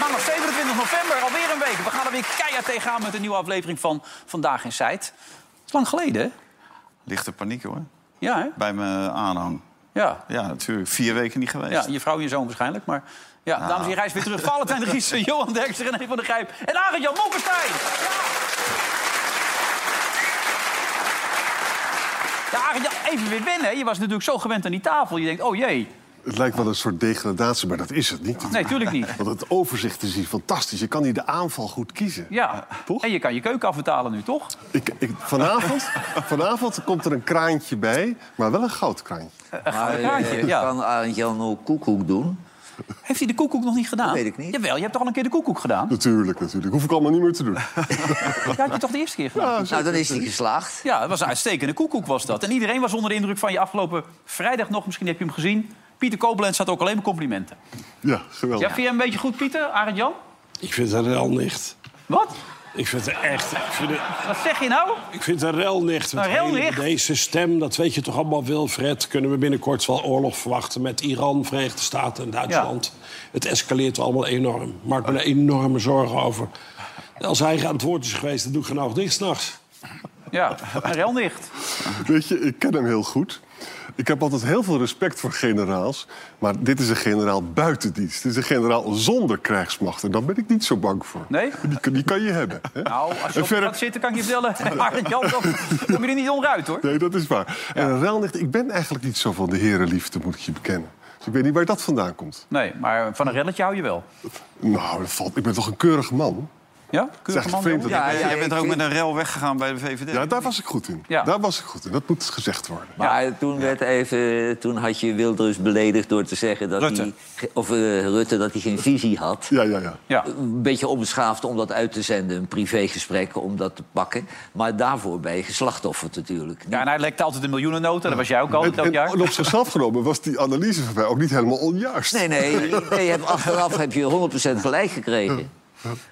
Maandag 27 november, alweer een week. We gaan er weer keihard tegenaan met een nieuwe aflevering van Vandaag in Sight. Dat is lang geleden, hè? Lichte paniek hoor. Ja, hè? Bij mijn aanhang. Ja. Ja, natuurlijk. Vier weken niet geweest. ja, je vrouw en je zoon waarschijnlijk, maar... Ja, Ah. dames en heren, hij is weer terug. Valentijn Riesen, Johan Derksen, René van der Grijp en Arend Jan Molkenstein. Ja, Arend Jan, even weer wennen. hè. Je was natuurlijk zo gewend aan die tafel. Je denkt, oh jee. Het lijkt wel een soort degradatie, maar dat is het niet. Nee, tuurlijk niet. Want het overzicht is hier fantastisch. Je kan hier de aanval goed kiezen. Ja, Toch? en je kan je keuken afbetalen nu, toch? Ik, ik, vanavond, vanavond komt er een kraantje bij, maar wel een goudkraantje. Een kraantje, Eh, ja. Kan Arend Jan ook koekoek doen? Heeft hij de koekoek nog niet gedaan? Dat weet ik niet. Jawel, je hebt toch al een keer de koekoek gedaan? Natuurlijk, natuurlijk. Hoef ik allemaal niet meer te doen. Dat had je toch de eerste keer gedaan? Nou, dan is hij geslaagd. Ja, dat was een uitstekende koekoek was dat. En iedereen was onder de indruk van je afgelopen vrijdag nog. Misschien heb je hem gezien. Pieter Koblenz had ook alleen maar complimenten. Ja, geweldig. Ja, vind je hem een beetje goed, Pieter? Arend Jan? Ik vind het een relnicht. Wat? Ik vind het echt. Ik vind het, Wat zeg je nou? ik vind het een relnicht. Het Een relnicht? hele- Deze stem, dat weet je toch allemaal, Wilfred. Kunnen we binnenkort wel oorlog verwachten met Iran, Verenigde Staten en Duitsland? Het escaleert allemaal enorm. Maak me er enorme zorgen over. Als hij aan het woord is geweest, dan doe ik genoeg dicht s'nachts. Ja, een relnicht. Weet je, ik ken hem heel goed. Ik heb altijd heel veel respect voor generaals. Maar dit is een generaal buiten dienst. Dit is een generaal zonder krijgsmacht. En daar ben ik niet zo bang voor. Nee? Die, kan- die kan je hebben. Hè? Nou, als je En op gaat zitten, kan ik je vertellen. Arend Jan, dan kom je er niet onderuit, hoor. Nee, dat is waar. En Relnicht, ik ben eigenlijk niet zo van de herenliefde, moet ik je bekennen. Dus ik weet niet waar dat vandaan komt. Nee, maar van een relletje hou je wel. Nou, dat valt. Ik ben toch een keurig man? Ja? Het is echt man, vreemd Jan? dat Ja, ik- ja, Jij bent ik ook vind- met een rel weggegaan bij de VVD. Ja, daar was ik goed in. Ja. Daar was ik goed in. Dat moet gezegd worden. Maar toen, werd even, toen had je Wilders beledigd door te zeggen dat Rutte. hij... ge- Of eh, Rutte, dat hij geen visie had. Ja, ja, ja. Ja. Een beetje onbeschaafd om dat uit te zenden, een privégesprek om dat te pakken. Maar daarvoor ben je geslachtofferd natuurlijk. ja, nou- en hij lekte altijd de miljoenennota. Dat was jij ook al, En, elk en, jaar. en op zichzelf genomen was die analyse van mij ook niet helemaal onjuist. Nee, nee, nee, je hebt, achteraf heb je 100% gelijk gekregen.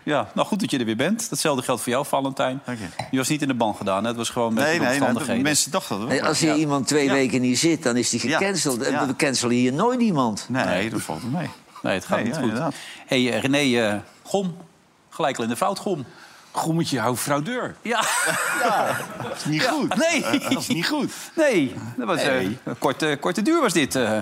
Ja, nou goed dat je er weer bent. Datzelfde geldt voor jou, Valentijn. Dank je. Je was niet in de ban gedaan, hè? het was gewoon met Nee, nee, nee, omstandigheden. mensen dachten dat En wel. als je iemand twee weken niet zit, dan is die Ja. gecanceld. En Ja. we cancelen hier nooit iemand. Nee, dat valt mee. Nee, het gaat Nee, niet ja, goed. inderdaad. hey, eh, René eh, Gom. Gelijk al in de fout, Gom. Grommetje, hou fraudeur. Ja, Dat is niet goed. nee. Dat is niet goed. Nee, dat was, eh, een korte, korte duur was dit. eh.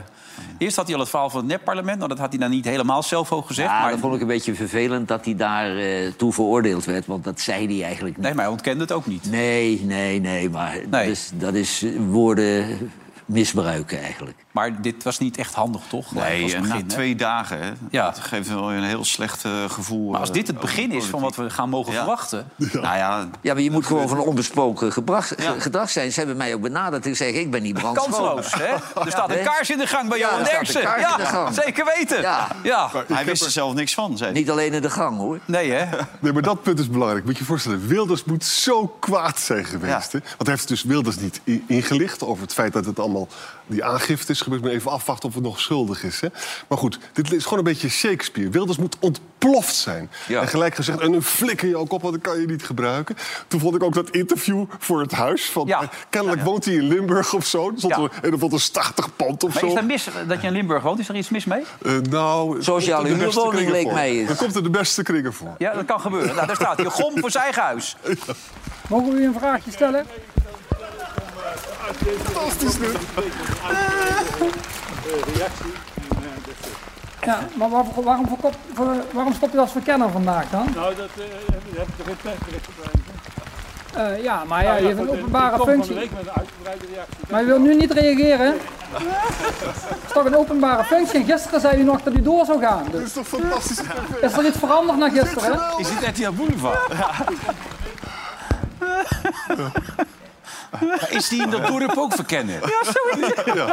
Eerst had hij al het verhaal van het nepparlement. Nou, dat had hij dan niet helemaal zelf ook gezegd. Ja, maar, dat vond ik een beetje vervelend dat hij daar eh, toe veroordeeld werd. Want dat zei hij eigenlijk niet. Nee, maar hij ontkende het ook niet. Nee, nee, nee. Maar Nee. Dus, dat is eh, woorden misbruiken eigenlijk. Maar dit was niet echt handig, toch? Gelijk als Nee, en begin, na hè? twee dagen, hè, Ja. dat geeft wel een heel slecht eh, gevoel. Maar als dit het begin is van wat we gaan mogen Ja. verwachten... Nou ja, Ja, maar je moet gewoon van onbesproken gebracht, ge- gedrag zijn. Ze hebben mij ook benaderd. Ik zeg, ik ben niet brandschoon. Kansloos, hè? Er staat een Nee. kaars in de gang bij Ja, Johan er staat een Derksen. kaars in de Ja, gang. zeker weten. Ja. ja. hij wist er zelf niks van, zei hij. Niet alleen in de gang, hoor. Nee, hè? Nee, maar dat punt is belangrijk. Moet je je voorstellen, Wilders moet zo kwaad zijn geweest. Ja. Hè? Want hij heeft dus Wilders niet i- ingelicht over het feit dat het allemaal die aangifte is gebeurd. Maar even afwachten of het nog schuldig is. Hè? Maar goed, dit is gewoon een beetje Shakespeare. Wilders moet ontploft zijn. Ja. En gelijk gezegd, en een flikker je ook op, want dat kan je niet gebruiken. Toen vond ik ook dat interview voor het huis. Van, Ja. eh, Kennelijk woont hij in Limburg of zo. Er stond Ja. er een of ander stachtig pand of Maar zo. is daar mis dat je in Limburg woont? Is er iets mis mee? Eh, nou, Sociale komt er de beste huurwoning kringen leek voor. mij eens. Dan komt er de beste kringen voor. Ja, dat kan gebeuren. Nou, daar staat hij. Gom voor zijn eigen huis. Mogen we u een vraagje stellen? Fantastisch nu. Ja, maar waar- waarom, verkop- voor- waarom stop je als verkenner vandaag dan? Nou, dat eh, heb ik er geen tijd voor. Eh, ja, maar ja, je hebt een Ik openbare kom van de functie. week met een uitgebreide reactie. Maar je wil nu niet reageren? Het is toch een openbare functie? En gisteren zei u nog dat u door zou gaan. Dus Dat is toch fantastisch? is er iets veranderd na gisteren? Is dit Etihad Boulevard? Maar Is die in dat dorp ook verkennen? Ja, zoiets. Ja.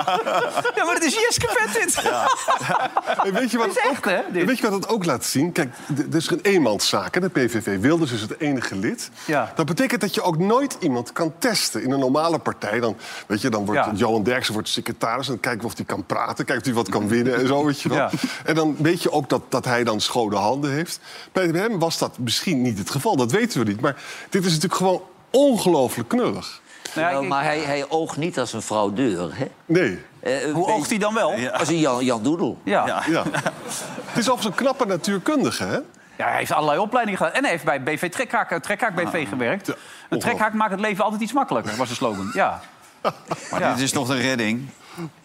maar het is Jeske Petit. En weet je wat Het is het echt, hè, ook, dit? Weet je wat het ook laat zien? Kijk, d- er is een eenmanszaak. Hè? De PVV Wilders is het enige lid. Ja. Dat betekent dat je ook nooit iemand kan testen. In een normale partij dan, weet je, dan wordt Ja. Johan Derksen wordt secretaris... en dan kijken we of hij kan praten, kijken of hij wat kan winnen en zo. Weet je wel. Ja. En dan weet je ook dat, dat hij dan schone handen heeft. Bij hem was dat misschien niet het geval, dat weten we niet. Maar dit is natuurlijk gewoon ongelooflijk knullig. Nou ja, Wel, ik- maar hij, hij oogt niet als een fraudeur. Hè? Nee, Eh, een Hoe beetje oogt hij dan wel? Ja. Als een Jan, Jan Doedel. Ja. ja. het is overigens een knappe natuurkundige, hè? hij heeft allerlei opleidingen gedaan. En hij heeft bij BV Trekhaak, eh, Trekhaak BV gewerkt. een trekhaak maakt het leven altijd iets makkelijker, was de slogan. Ja. Maar Ja. dit is toch de redding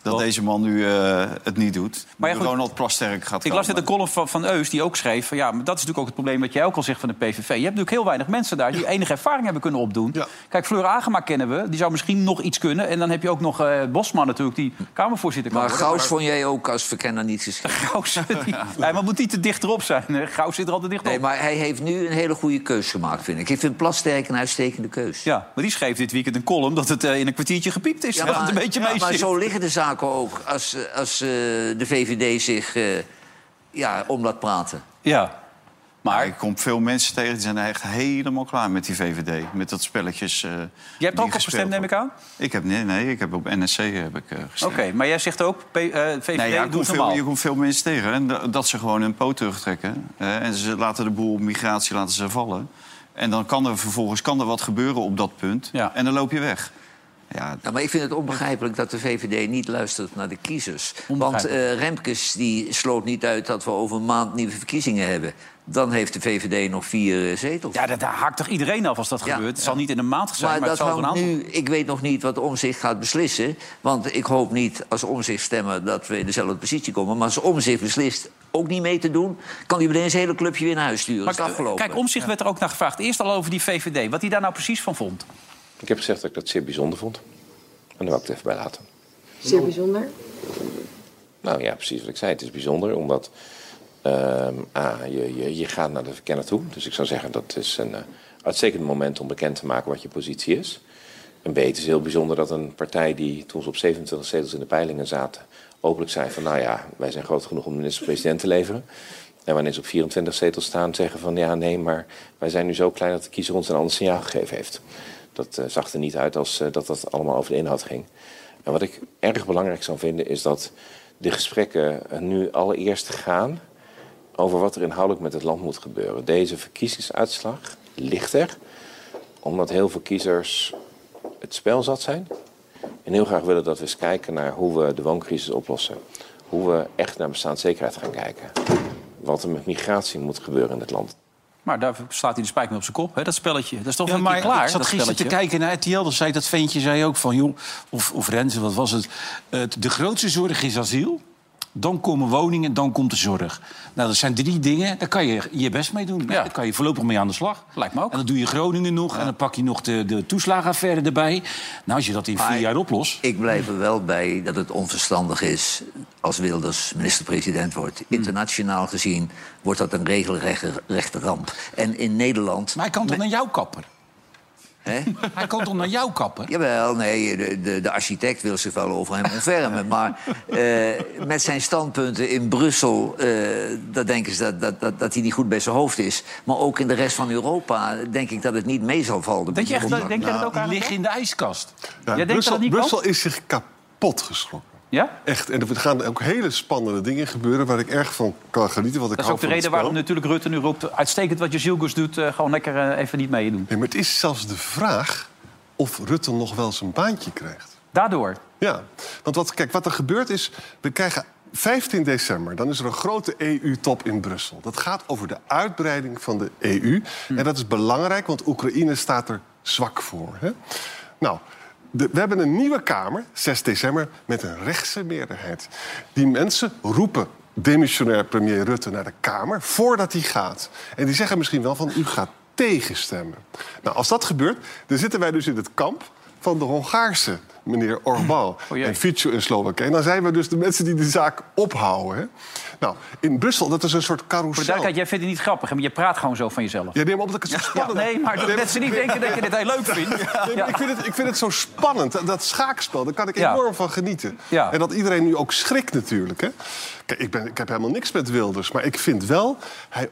dat deze man nu eh, het niet doet. Maar Maar ja, goed. Ronald Plasterk gaat Ik las net komen. een column van, van Eus die ook schreef... Van, ja, maar dat is natuurlijk ook het probleem wat jij ook al zegt van de PVV. Je hebt natuurlijk heel weinig mensen daar die enige ervaring hebben kunnen opdoen. Ja. Kijk, Fleur Agema kennen we. Die zou misschien nog iets kunnen. En dan heb je ook nog eh, Bosman natuurlijk, die Kamervoorzitter kan Maar worden. Gauws vond jij ook als verkenner niet geschikt. Gauws, die- Ja, maar moet die te dichterop zijn? hè? Gauws zit er altijd dichterop. Nee, maar hij heeft nu een hele goede keus gemaakt, vind ik. Ik vind Plasterk een uitstekende keus. Ja, maar die schreef dit weekend een column dat het eh, in een kwartiertje gepiept is. Ja, dat het een beetje ja, mee maar zit. zo liggen de zaken ook als, eh, als eh, de VVD zich eh, ja, om laat praten. Ja. Maar ik kom veel mensen tegen die zijn echt helemaal klaar met die VVD. Met dat spelletjes. eh Jij hebt ook op gestemd, neem ik aan? Ik heb, nee, nee, ik heb op NSC heb ik, eh, gestemd. Oké, maar jij zegt ook, P- eh, VVD Nee, ja, je, doet komt veel, normaal. je komt veel mensen tegen. En da- dat ze gewoon hun poot terugtrekken. Eh, en ze laten de boel op migratie laten ze vallen. En dan kan er vervolgens kan er wat gebeuren op dat punt. Ja. En dan loop je weg. Ja, Nou, maar ik vind het onbegrijpelijk dat de VVD niet luistert naar de kiezers. Want Onbegrijpelijk. eh, Remkes die sloot niet uit dat we over een maand nieuwe verkiezingen hebben. Dan heeft de VVD nog vier eh, zetels. Ja, dat daar haakt toch iedereen af als dat Ja, gebeurt? Het zal niet in een maand zijn, maar, maar dat het zal over een hangt aantal... nu, ik weet nog niet wat Omzicht gaat beslissen. Want ik hoop niet als Omzicht stemmen dat we in dezelfde positie komen. Maar als Omzicht beslist ook niet mee te doen, kan hij meteen zijn hele clubje weer naar huis sturen. Maar is het afgelopen. Kijk, Omzicht werd er ook naar gevraagd. Eerst al over die VVD, wat hij daar nou precies van vond. Ik heb gezegd dat ik dat zeer bijzonder vond. En daar wou ik het even bij laten. Zeer bijzonder. Nou ja, precies wat ik zei. Het is bijzonder omdat... ehm, A, je, je, je gaat naar de verkenner toe. Dus ik zou zeggen dat is een eh, uitstekend moment om bekend te maken wat je positie is. En B, het is heel bijzonder dat een partij die toen ze op 27 zetels in de peilingen zaten... openlijk zei van nou ja, wij zijn groot genoeg om minister-president te leveren. En wanneer ze op 24 zetels staan zeggen van ja, nee, maar wij zijn nu zo klein dat de kiezer ons een ander signaal gegeven heeft. Dat eh, zag er niet uit als eh, dat dat allemaal over de inhoud ging. En Nou, wat ik erg belangrijk zou vinden is dat de gesprekken eh, nu allereerst gaan over wat er inhoudelijk met het land moet gebeuren. Deze verkiezingsuitslag ligt er omdat heel veel kiezers het spel zat zijn. En heel graag willen dat we eens kijken naar hoe we de wooncrisis oplossen. Hoe we echt naar bestaanszekerheid gaan kijken. Wat er met migratie moet gebeuren in het land. Maar daar slaat hij de spijker mee op zijn kop, hè, dat spelletje. Dat is toch Ja, een keer maar klaar, ik zat dat gisteren te spelletje. kijken naar RTL. Dan zei dat ventje zei ook van, joh, of, of Renze, wat was het? Het- de grootste zorg is asiel. Dan komen woningen, dan komt de zorg. Nou, dat zijn drie dingen. Daar kan je je best mee doen. Ja. Daar kan je voorlopig mee aan de slag. Lijkt me ook. En dan doe je Groningen nog. En dan pak je nog de, de toeslagenaffaire erbij. Nou, als je dat in vier Maar- jaar oplost... Ik blijf er wel bij dat het onverstandig is als Wilders minister-president wordt. Hmm. Internationaal gezien wordt dat een regelrechte rechte ramp. En in Nederland... Maar hij kan toch naar jouw kapper? Hè? Hij kan toch naar jouw kapper? Jawel, nee, de, de, de architect wil zich wel over hem ontfermen. Maar eh, met zijn standpunten in Brussel... eh dat denken ze dat, dat, dat, dat hij niet goed bij zijn hoofd is. Maar ook in de rest van Europa denk ik dat het niet mee zal vallen. nou, Denk je echt, dat- denk jij dat ook Die aan? liggen in de ijskast. Ja, denkt dat Brussel, dat niet kan? Brussel is zich kapot geschrokken. Ja? Echt, en er gaan ook hele spannende dingen gebeuren waar ik erg van kan genieten. Want ik Dat is hou ook de van reden het spel. waarom natuurlijk Rutte nu roept... uitstekend wat je Zilgus doet, eh, gewoon lekker eh, even niet meedoen. Nee, maar het is zelfs de vraag of Rutte nog wel zijn baantje krijgt. Daardoor. Ja, want wat, kijk, wat er gebeurt is... we krijgen 15 december, dan is er een grote EU-top in Brussel. Dat gaat over de uitbreiding van de EU. En dat is belangrijk, want Oekraïne staat er zwak voor. Hè? Nou, de- we hebben een nieuwe Kamer, 6 december, met een rechtse meerderheid. Die mensen roepen demissionair premier Rutte naar de Kamer voordat hij gaat. En die zeggen misschien wel van, u gaat tegenstemmen. Nou, als dat gebeurt, dan zitten wij dus in het kamp van de Hongaarse meneer Orbán. Oh, jee. en Fico in Slowakije. En dan zijn we dus de mensen die de zaak ophouden. Hè? Nou, in Brussel, dat is een soort Voor de carousel. duidelijkheid, jij vindt het niet grappig, hè, maar je praat gewoon zo van jezelf. Ja, nee, maar omdat ik het zo Ja, spannend nee, maar dat Nee, mensen niet denken dat je dit heel leuk vindt. Nee, maar Ja. Ik, vind het, ik vind het zo spannend. Dat, dat schaakspel, daar kan ik Ja. enorm van genieten. Ja. En dat iedereen nu ook schrikt natuurlijk. Hè? Kijk, ik, ben, ik heb helemaal niks met Wilders. Maar ik vind wel, hij,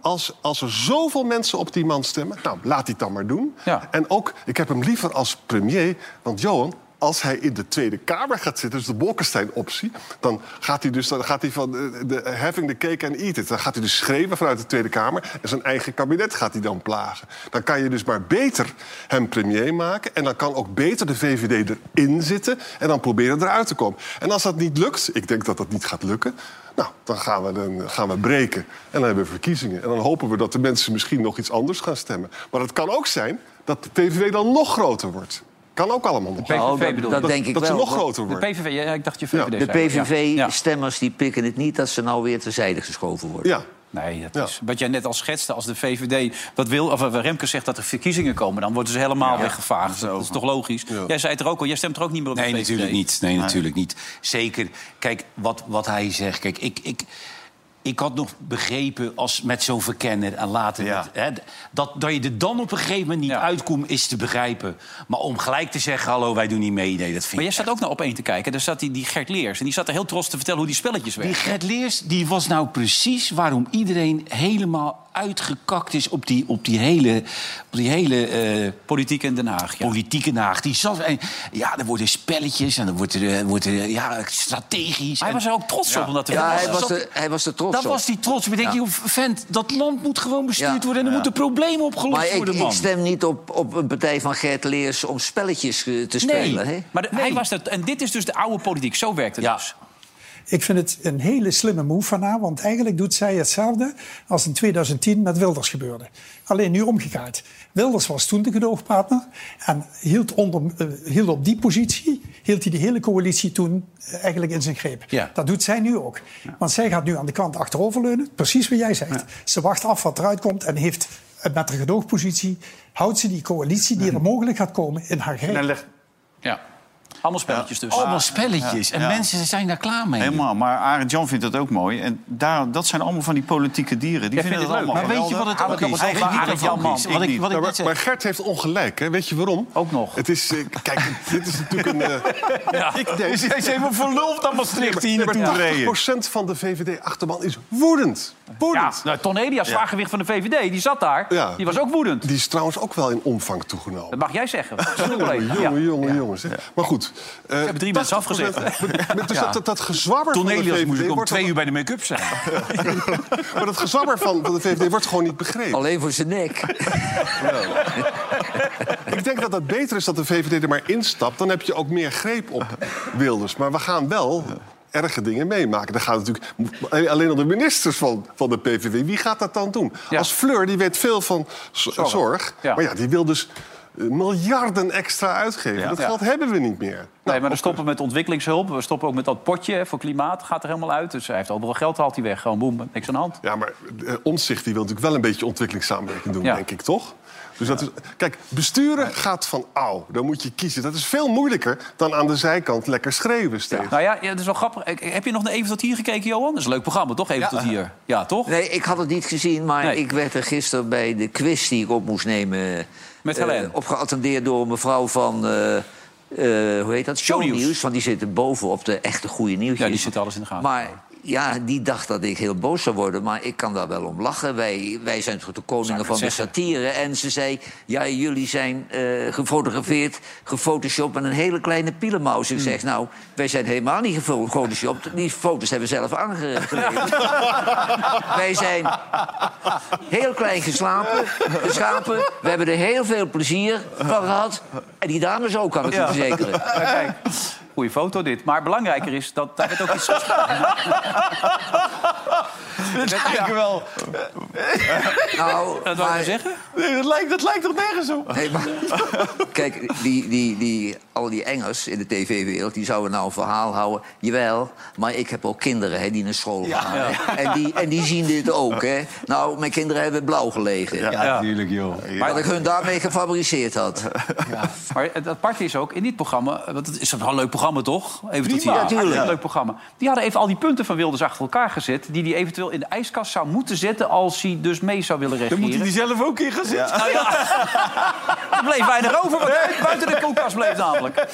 als, als er zoveel mensen op die man stemmen... nou, laat hij het dan maar doen. Ja. En ook, ik heb hem liever als premier. Want Johan, als hij in de Tweede Kamer gaat zitten... dus de Bolkestein-optie... dan gaat hij dus dan gaat hij van eh, de, having the cake and eat it. Dan gaat hij dus schreeuwen vanuit de Tweede Kamer... en zijn eigen kabinet gaat hij dan plagen. Dan kan je dus maar beter hem premier maken... en dan kan ook beter de VVD erin zitten... en dan proberen eruit te komen. En als dat niet lukt, ik denk dat dat niet gaat lukken... Nou, dan gaan we, dan gaan we breken. En dan hebben we verkiezingen. En dan hopen we dat de mensen misschien nog iets anders gaan stemmen. Maar het kan ook zijn dat de PVV dan nog groter wordt. Kan ook allemaal nog. PVV Oh, dat, bedoel dat je? denk ik dat wel. ze nog want groter De wordt. PVV, ja, eh, ik dacht je VVD. zei, De ja. Ja. PVV-stemmers die pikken het niet dat ze nou weer terzijde geschoven worden. Ja. Nee, dat Ja. is wat jij net al schetste. Als de VVD dat wil, of eh, Remke zegt dat er verkiezingen komen... dan worden ze helemaal weggevaagd. Dat is toch logisch? Jij zei het er ook al. Jij stemt er ook niet meer op Nee, de VVD. natuurlijk niet. Nee, natuurlijk niet. Zeker. Kijk, wat, wat hij zegt. Kijk, ik, ik, ik had nog begrepen als met zo'n verkenner en later. Ja. met- hè, d- dat, dat je er dan op een gegeven moment niet Ja. uitkomt, is te begrijpen. Maar om gelijk te zeggen: hallo, wij doen niet mee. Nee, dat vind Maar jij ik. zat ook naar op één te kijken. Daar zat die, die Gert Leers. En die zat er heel trots te vertellen hoe die spelletjes Die werken. Gert Leers die was nou precies waarom iedereen helemaal uitgekakt is op die, op die hele. Op die hele eh, Politiek in Den Haag, ja. Politieke naag. Die zat, en, ja, er worden spelletjes en dan wordt er, eh, wordt er eh, ja, strategisch. Hij en- was er ook trots op om dat te Ja, hij vertellen. was er, hij was er trots Dat op. was die trots. Maar denk je, joh, vent, dat land moet gewoon bestuurd Ja. worden... en er moeten problemen opgelost maar ik, worden, ik man. stem niet op, op een partij van Gert Leers om spelletjes eh, te spelen. Hè? Maar de- hij was dat, en dit is dus de oude politiek. Zo werkt het Ja. dus. Ik vind het een hele slimme move van haar, want eigenlijk doet zij hetzelfde als in 2010 met Wilders gebeurde. Alleen nu omgekeerd. Wilders was toen de gedoogpartner en hield, onder, eh, hield op die positie, hield hij de hele coalitie toen eh, eigenlijk in zijn greep. Ja. Dat doet zij nu ook. Want zij gaat nu aan de kant achteroverleunen, precies wat jij zegt. Ze wacht af wat eruit komt en heeft eh, met haar gedoogpositie, houdt ze die coalitie die er mogelijk gaat komen in haar greep. Dan legt Ja. Allemaal spelletjes dus. Allemaal spelletjes. En Ja. mensen zijn daar klaar mee. helemaal. Maar Arend Jan vindt dat ook mooi. En daar, dat zijn allemaal van die politieke dieren. Die Jij vinden vindt het het leuk, allemaal Maar weet je geweldig. wat het Hou ook het is? nog eens Hij over. geniet Arend ervan. Jan, Wat man. ik- Ik niet. Wat ik Ja, net maar, zei. maar Gert heeft ongelijk, hè? weet je waarom? Ook nog. Het is, eh, kijk, dit is natuurlijk een... eh, Ik denk, Hij is helemaal verloofd aan Maastricht hier nee, naartoe maar gereden. 80% van de VVD-achterban is woedend. Ja, Woedend. nou, Ton Elias, zwaargewicht van de VVD, die zat daar. Ja. Die was ook woedend. Die is trouwens ook wel in omvang Dat toegenomen. mag jij zeggen. Dat is een collega. Jongen, Ja. jongen, jongen, jongens. hè. Maar goed. eh, Ze hebben drie mensen afgezet. Dus dat, dat, dat gezwabber van de Cornelius VVD moest ik om wordt twee uur bij de make-up zijn. Maar dat gezwabber van, van de VVD wordt gewoon niet Oh, begrepen. Alleen voor zijn nek. Ik denk dat het beter is dat de VVD er maar instapt. Dan heb je ook meer greep op Wilders. Maar we gaan wel erge dingen meemaken. Dan gaan natuurlijk alleen al de ministers van, van de PVV. Wie gaat dat dan doen? Ja. Als Fleur, die weet veel van z- zorg. Ja. Maar ja, die wil dus eh, miljarden extra uitgeven. dat Ja. geld hebben we niet meer. Nee, maar we stoppen met ontwikkelingshulp. We stoppen ook met dat potje hè, voor klimaat. Gaat er helemaal uit. Dus hij heeft overal geld, haalt hij weg. Gewoon boem, niks aan de hand. Ja, maar Omzicht die wil natuurlijk wel een beetje ontwikkelingssamenwerking doen, Ja. denk ik, toch? Dus dat is, kijk, besturen gaat van ouw. Dan moet je kiezen. Dat is veel moeilijker dan aan de zijkant lekker schreeuwen steeds. Nou ja, ja, dat is wel grappig. Ik- Heb je nog naar Even tot hier gekeken, Johan? Dat is een leuk programma, toch? Even tot eh, hier. Ja, toch? Nee, ik had het niet gezien, maar Nee. ik werd er gisteren bij de quiz die ik op moest nemen... Met eh, Helene. op geattendeerd door een mevrouw van... eh, eh, hoe heet dat? Shownieuws. Shownieuws. Want die zitten boven op de echte goede nieuwtjes. Ja, die zitten alles in de gaten. Maar ja, die dacht dat ik heel boos zou worden. Maar ik kan daar wel om lachen. Wij, wij zijn toch de koningen van de satire. En ze zei, ja, jullie zijn eh, gefotografeerd, gefotoshopt... met een hele kleine pielenmaus. Hmm. Ik zeg, nou, wij zijn helemaal niet gefo- gefotoshopt. Die foto's hebben we zelf aangeleverd. wij zijn heel klein geslapen, geschapen. We hebben er heel veel plezier van gehad. En die dames ook, kan ik u verzekeren. Ja, kijk. Goeie foto dit. Maar belangrijker is dat daar werd ook iets gesproken. Dat lijkt wel... Nou, Dat wou maar- je zeggen? Nee, dat, lijkt, dat lijkt toch nergens op? Nee, maar kijk, die, die, die, al die Engels in de tv-wereld... die zouden nou een verhaal houden. Jawel, maar ik heb ook kinderen hè, die naar school gaan. hè. En, die, en die zien dit ook, hè. Nou, mijn kinderen hebben blauw gelegen. Ja. natuurlijk, joh. Maar dat ik hun daarmee gefabriceerd had. Maar het aparte is ook, in dit programma... Want het is wel een leuk programma, toch? Even tot hier. Ja, tuurlijk. Een leuk programma. Die hadden even al die punten van Wilders achter elkaar gezet... die hij eventueel in de ijskast zou moeten zetten... als hij dus mee zou willen regeren. zelf ook in gaan zitten. Nou Er bleef weinig over, want buiten de koelkast bleef namelijk.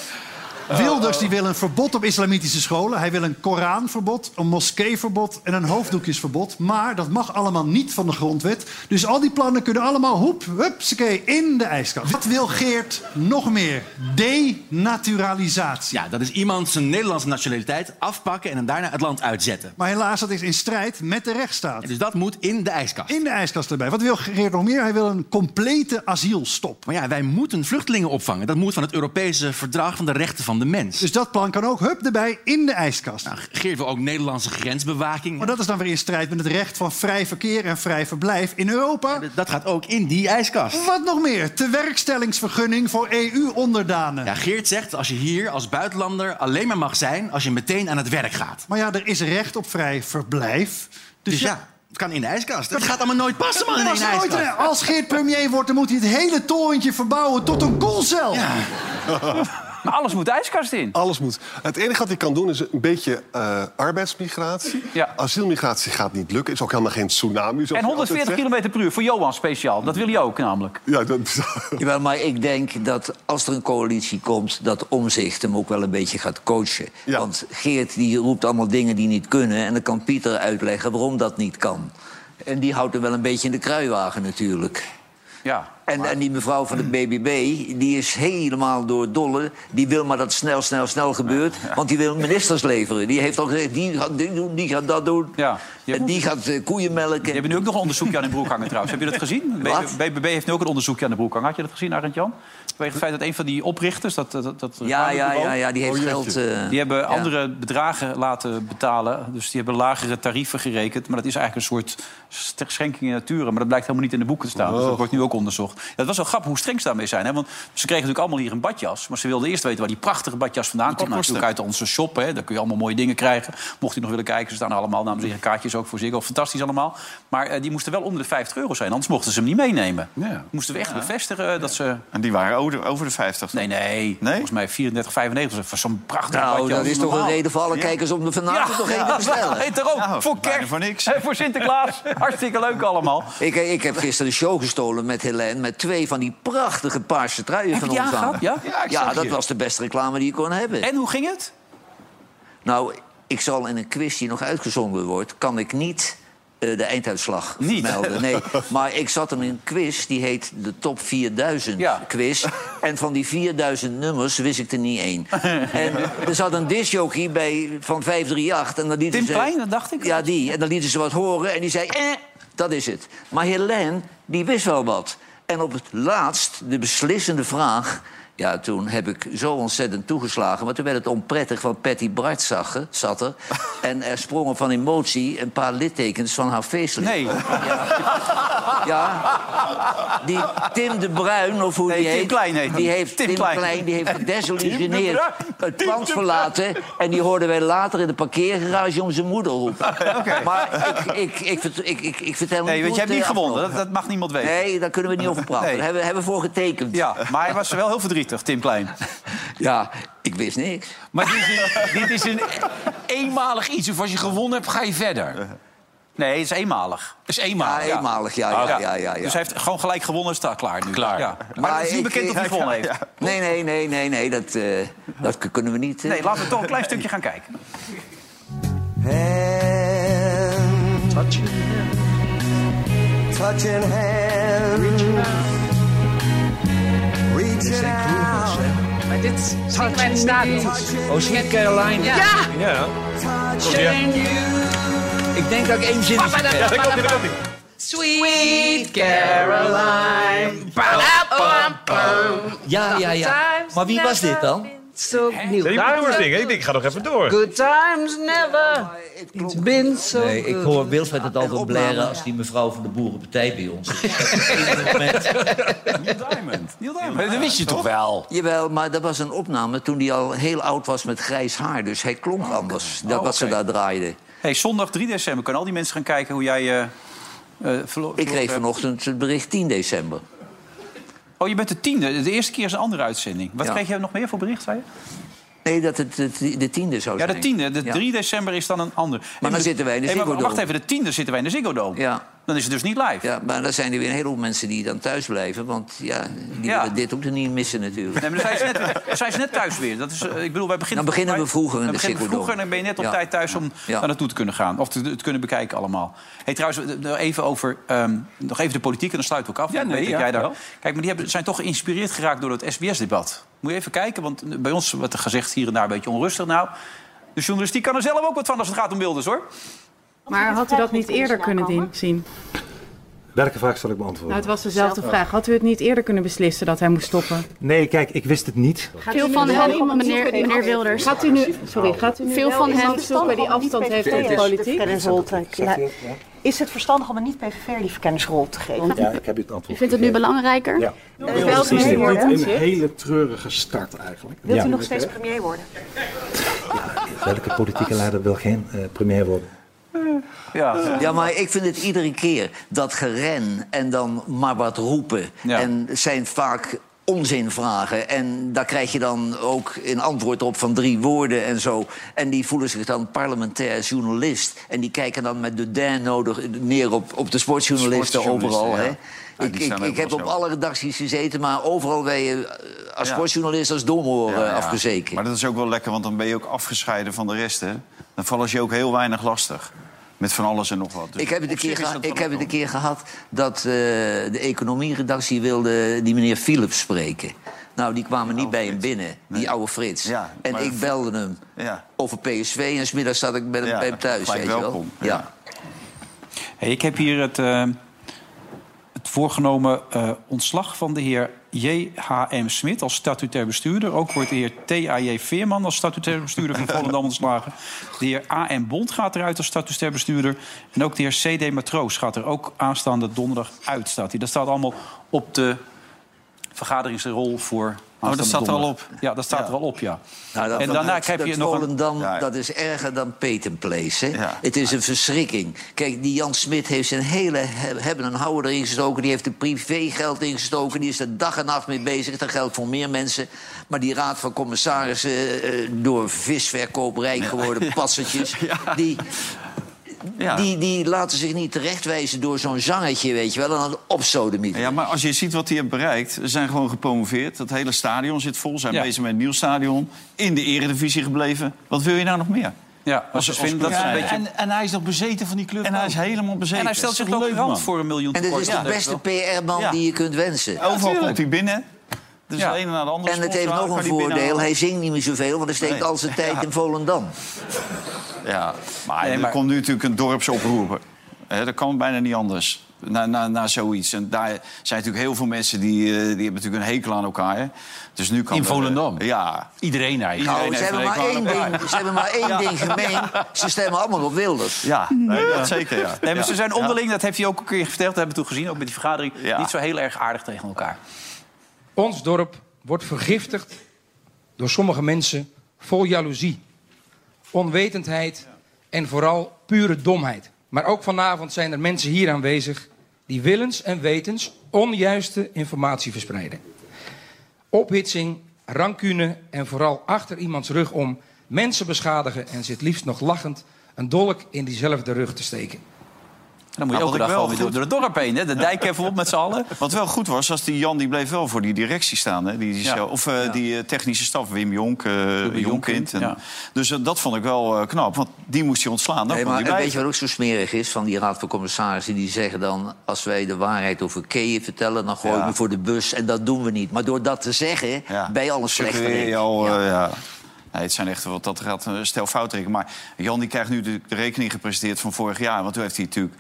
Wilders die wil een verbod op islamitische scholen. Hij wil een Koranverbod, een moskeeverbod en een hoofddoekjesverbod. Maar dat mag allemaal niet van de grondwet. Dus al die plannen kunnen allemaal hoep, hupsakee, in de ijskast. Wat wil Geert nog meer? Denaturalisatie. Ja, dat is iemand zijn Nederlandse nationaliteit afpakken en hem daarna het land uitzetten. Maar helaas, dat is in strijd met de rechtsstaat. Dus dat moet in de ijskast. In de ijskast erbij. Wat wil Geert nog meer? Hij wil een complete asielstop. Maar ja, wij moeten vluchtelingen opvangen. Dat moet van het Europese verdrag van de rechten van de mens. Dus dat plan kan ook, hup, erbij, in de ijskast. Geven we ook Nederlandse grensbewaking. Maar dat is dan weer in strijd met het recht van vrij verkeer en vrij verblijf in Europa. Dat gaat ook in die ijskast. Wat nog meer? Tewerkstellingsvergunning voor E EU-onderdanen. Ja, Geert zegt, als je hier als buitenlander alleen maar mag zijn... als je meteen aan het werk gaat. Maar ja, er is recht op vrij verblijf. Dus, ja, het kan in de ijskast. Het gaat allemaal nooit passen, man, in Dat was de nooit ijskast. een- als Geert premier wordt, dan moet hij het hele torentje verbouwen tot een koelcel. Maar alles moet de ijskast in. Alles moet. Het enige wat hij kan doen is een beetje eh, arbeidsmigratie. Ja. Asielmigratie gaat niet lukken. Is ook helemaal geen tsunami. zoals En je altijd 140 zegt. km per uur voor Johan speciaal. Dat wil hij ook namelijk. Ja, dat, Jawel, maar ik denk dat als er een coalitie komt... dat Omzicht hem ook wel een beetje gaat coachen. Want Geert die roept allemaal dingen die niet kunnen... en dan kan Pieter uitleggen waarom dat niet kan. En die houdt hem wel een beetje in de kruiwagen natuurlijk. Ja. En, en die mevrouw van het BBB, die is helemaal door dolle. Die wil maar dat snel, snel, snel gebeurt. Want die wil ministers leveren. Die heeft al gezegd, die gaat dit doen, die gaat dat doen. Ja. Je En hebt- die gaat eh, koeien melken. Die hebben nu ook nog een onderzoekje aan de broek hangen trouwens. Heb je dat gezien? Wat? BBB heeft nu ook een onderzoekje aan de broek hangen. Had je dat gezien, Arend Jan? Vanwege het feit dat een van die oprichters... Dat, dat, dat Ja, ja, radiobureau, ja, ja, die heeft geld... eh, Oh, Die hebben ja. andere bedragen laten betalen. Dus die hebben lagere tarieven gerekend. Maar dat is eigenlijk een soort st- schenking in nature. Maar dat blijkt helemaal niet in de boeken te staan. Dus dat wordt nu ook onderzocht. Ja, het was wel grappig hoe streng ze daarmee zijn. Hè? Want ze kregen natuurlijk allemaal hier een badjas. Maar ze wilden eerst weten waar die prachtige badjas vandaan kwam. Nou, natuurlijk uit onze shop. Hè? Daar kun je allemaal mooie dingen krijgen. Mocht u nog willen kijken, ze staan er allemaal. Namens hier kaartjes ook voor Ziggo. Fantastisch allemaal. Maar eh, die moesten wel onder de 50 euro zijn. Anders mochten ze hem niet meenemen. Ja. Moesten we echt bevestigen eh, dat ze... En die waren over, over de 50. Nee, nee. Volgens mij 34, 95. Voor zo'n prachtige Nou, badjas. dat is toch een reden voor alle kijkers om er vanavond nog één te bestellen. heet er ook. Nou, voor bijna kerst. voor niks. En voor Sinterklaas. Hartstikke leuk allemaal. Ik, eh, ik heb gisteren de show gestolen met Helene... met twee van die prachtige paarse truien Heb van je die ons aan. aangehad? Ja? Ja, ik zag dat je. was de beste reclame die je kon hebben. En hoe ging het? Nou, ik zal in een quiz die nog uitgezonden wordt... kan ik niet eh, de einduitslag Niet. melden. Nee, maar ik zat in een quiz die heet de Top 4000 Ja. quiz. En van die 4000 nummers wist ik er niet één. en er zat een discjockey bij van 538... En dan lieten Tim ze- Klein, dat dacht ik. Ja, die. En dan lieten ze wat horen en die zei... Eh, dat is het. Maar Helene, die wist wel wat. En op het laatst, de beslissende vraag... Ja, toen heb ik zo ontzettend toegeslagen. Maar toen werd het onprettig, want Patty Bart zag, er- zat er. En er sprongen van emotie een paar littekens van haar feestelijk. Nee. Ja, die Tim de Bruin, of hoe Nee, die Tim heet... Klein heet die hij. heeft Tim Tim Klein. Klein. die heeft Tim de gedesillusioneerd Bruin. het Tim pand de verlaten. En die hoorden wij later in de parkeergarage om zijn moeder roepen. Maar ik, ik, ik, vert- ik, ik, ik vertel Nee, niet want hoe je hebt het, niet eh, gewonnen. Dat, afloopt. dat mag niemand weten. Nee, daar kunnen we niet over praten. Nee. Daar hebben, hebben we voor getekend. Ja. Ja, maar hij was wel heel verdrietig, Tim Klein. ik wist niks. Maar dit is, een, dit is een eenmalig iets. Of als je gewonnen hebt, ga je verder. Dat Nee, het is eenmalig. is Ja, eenmalig. eenmalig, ja, ja, ja, ja, ja. Dus hij heeft gewoon gelijk gewonnen. Staat klaar nu. Klaar. Ja. Maar, Maar het is ik- niet bekend of hij ik- gewonnen heeft. Nee, nee, nee, nee, nee, dat, eh, dat k- kunnen we niet. eh. Nee, laten we toch een klein stukje gaan kijken. Eh, hand. Touching hand. Touching hand. Reaching out. Reaching out. Maar dit zien wij in de stadion. Oh, Sweet Caroline. Ja. Ja. Touching Ik denk dat ik één zin... Papa, dat- Ja, dat komt, dat Sweet Caroline. Ba-da-bam-bam. Ja, ja, ja. Maar wie was dit dan? so new. Downward Ding. Ik denk, ik ga nog even door. Good times never. It's been so Nee, ik good. hoor Wilfred het altijd opname, blaren ja. als die mevrouw van de Boerenpartij bij ons is. Maar dat wist je toch wel? Jawel, maar dat was een opname toen hij al heel oud was met grijs haar. Dus hij klonk anders, dat Oh, wat ze oké. daar draaiden. Hey, zondag 3 december kunnen al die mensen gaan kijken hoe jij eh, eh, verlo- Ik verloren kreeg hebt. vanochtend het bericht 10 december. Oh, je bent de tiende. De eerste keer is een andere uitzending. Wat Ja. kreeg je nog meer voor bericht, zei je? Nee, dat het de, de tiende zou Ja, zijn. de tiende. De Ja. 3 december is dan een ander. Maar dan zitten wij in de Ziggo Dome. Wacht even, de tiende zitten wij in de Ziggo Dome. Dan is het dus niet live. Ja, maar dan zijn er weer een heleboel mensen die dan thuis blijven. Want ja, die willen dit ook niet missen natuurlijk. Nee, maar dan zijn ze net, dan zijn ze net thuis weer. Dat is, eh, ik bedoel, wij beginnen, Dan beginnen we vroeger in dan de beginnen we Ziggo Dome. vroeger en dan ben je net op Ja. tijd thuis om Ja. daar naartoe te kunnen gaan. Of te, het kunnen bekijken allemaal. Hey, trouwens, eh, nog even over ehm, nog even de politiek en dan sluiten we ook af. Ja, Ik weet nee, dat ja, jij daar, wel. kijk, maar die hebben, zijn toch geïnspireerd geraakt door het SBS-debat. Moet je even kijken, want eh, bij ons wordt er gezegd hier en daar een beetje onrustig. Nou, de journalistiek kan er zelf ook wat van als het gaat om Wilders, hoor. Maar had u dat niet eerder kunnen dien- zien? Welke vraag zal ik Nou, beantwoorden? het was dezelfde vraag. Had u het niet eerder kunnen beslissen dat hij moest stoppen? Nee, kijk, ik wist het niet. Veel nu van wel hen, iemand meneer- zoeken die meneer afstand Wilders. heeft? Gaat u nu- sorry, gaat u nu Veel wel van iemand hen zoeken die afstand heeft van de politiek? Zegt u, ja. Is het verstandig om een niet-PVV'er die verkenningsrol te geven? Ja, ik heb je het antwoord. U vindt het nu gegeven. belangrijker? Ja. Eh, Wilt u Precies, dit nog wordt steeds een premier worden? hele treurige start eigenlijk. Wilt Ja. u nog steeds premier worden? Welke politieke leider wil geen eh, premier worden? Eh, Ja. maar ik vind het iedere keer dat geren en dan maar wat roepen. En het zijn vaak onzinvragen. En daar krijg je dan ook een antwoord op van drie woorden en zo. En die voelen zich dan parlementair journalist. En die kijken dan met de den nodig neer op, op de sportjournalisten Sportjournalisten, overal. ja. Hè? Ja, die ik staan ik, ik overal heb zo. op alle redacties gezeten, maar overal ben je eh, als Ja. sportjournalist als domoor eh, Ja, ja. afgezekerd. Maar dat is ook wel lekker, want dan ben je ook afgescheiden van de rest. Hè? Dan vallen ze je ook heel weinig lastig. Met van alles en nog wat. Dus Ik heb het een op zich keer, is geha- dat ik wel heb het een keer gehad dat eh, de economieredactie wilde die meneer Philips spreken. Nou, die kwamen niet bij hem binnen, die oude Frits. en maar- ik belde hem over PSV en smiddags zat ik bij hem, Ja, bij hem thuis. gelijk Weet je wel. welkom, Ja. Hey, ik heb hier het, eh, het voorgenomen eh, ontslag van de heer J.H.M. Smit als statutair bestuurder. Ook wordt de heer T.A.J. Veerman als statutair bestuurder van Volendam ontslagen. De heer A.M. Bond gaat eruit als statutair bestuurder. En ook de heer C.D. Matroos gaat er ook aanstaande donderdag uit. Staat hij. Dat staat allemaal op de vergaderingsrol voor. dat aanstaande staat er al donderdag. Ja, dat staat er al op, ja. Nou, dat- en daarna dat- heb je dat nog een... Volendam, dat is erger dan Petenplace. Hè? Het is een verschrikking. Kijk, die Jan Smit heeft zijn hele he- hebben en houden erin gestoken. Die heeft er privégeld in gestoken. Die is er dag en nacht mee bezig. Dat geldt voor meer mensen. Maar die raad van commissarissen, eh, door visverkoop rijk geworden passertjes... Die, Die, die laten zich niet terechtwijzen door zo'n zangetje, weet je wel. En dan opsodemieten. Ja, maar als je ziet wat hij heeft bereikt, ze zijn gewoon gepromoveerd. Dat hele stadion zit vol. Ze zijn Ja. bezig met een nieuw stadion. In de eredivisie gebleven. Wat wil je nou nog meer? Ja, als, ze vinden dat ze een Ja, beetje... En, en hij is nog bezeten van die club. En hij is helemaal bezeten. En hij stelt Dat zich is toch ook leuk, garant man? voor een miljoen En dat is tekort. de beste PR-man Ja. die je kunt wensen. Overal komt hij binnen. Dus Ja. de ene naar de andere. En het heeft sponsor nog kan een die binnenhalen. voordeel. Hij zingt niet meer zoveel, want hij steekt Nee. al zijn tijd Ja. in Volendam. Ja, maar Nee, er maar- komt nu natuurlijk een dorpsoproer. Hè, dat kan bijna niet anders. Na, na, na zoiets. En daar zijn natuurlijk heel veel mensen die, eh, die hebben natuurlijk een hekel aan elkaar. hè. Dus nu kan In er- Volendam? ja. Iedereen eigenlijk. Nou, ze, heeft hebben een maar hekel één aan ding, elkaar. ze hebben maar één Ja. Nou, ding gemeen. Ze stemmen allemaal op Wilders. Ja, nee, dat zeker. Ja. Nee, maar Ja. ze zijn onderling, dat heeft hij ook een keer verteld, dat hebben we toen gezien, ook met die vergadering, niet zo heel erg aardig tegen elkaar. Ons dorp wordt vergiftigd door sommige mensen vol jaloezie, onwetendheid en vooral pure domheid. Maar ook vanavond zijn er mensen hier aanwezig die willens en wetens onjuiste informatie verspreiden. Ophitsing, rancune en vooral achter iemands rug om mensen beschadigen en zit liefst nog lachend een dolk in diezelfde rug te steken. Dan moet je Nou, wat elke dag ik gewoon wel weer door, goed- door het dorp heen, hè? de dijk even op met z'n allen. Wat wel goed was, als die Jan die bleef wel voor die directie staan. Hè? Die, die Ja. zo- of eh, die eh, technische staf, Wim Jonk, eh, Jonkind. En, ja. Dus eh, dat vond ik wel eh, knap, want die moest hij ontslaan. Dan Nee, kon maar hij en bij. weet je wat ook zo smerig is van die raad van commissarissen? Die zeggen dan, als wij de waarheid over Keeën vertellen... dan gooien Ja. we voor de bus en dat doen we niet. Maar door dat te zeggen, Ja. ben je al een Suggereer slechterik. je al, eh, ja. Nee, het zijn echt wat dat gaat eh, stel fout rekenen. Maar Jan die krijgt nu de, de rekening gepresenteerd van vorig jaar. Want toen heeft hij natuurlijk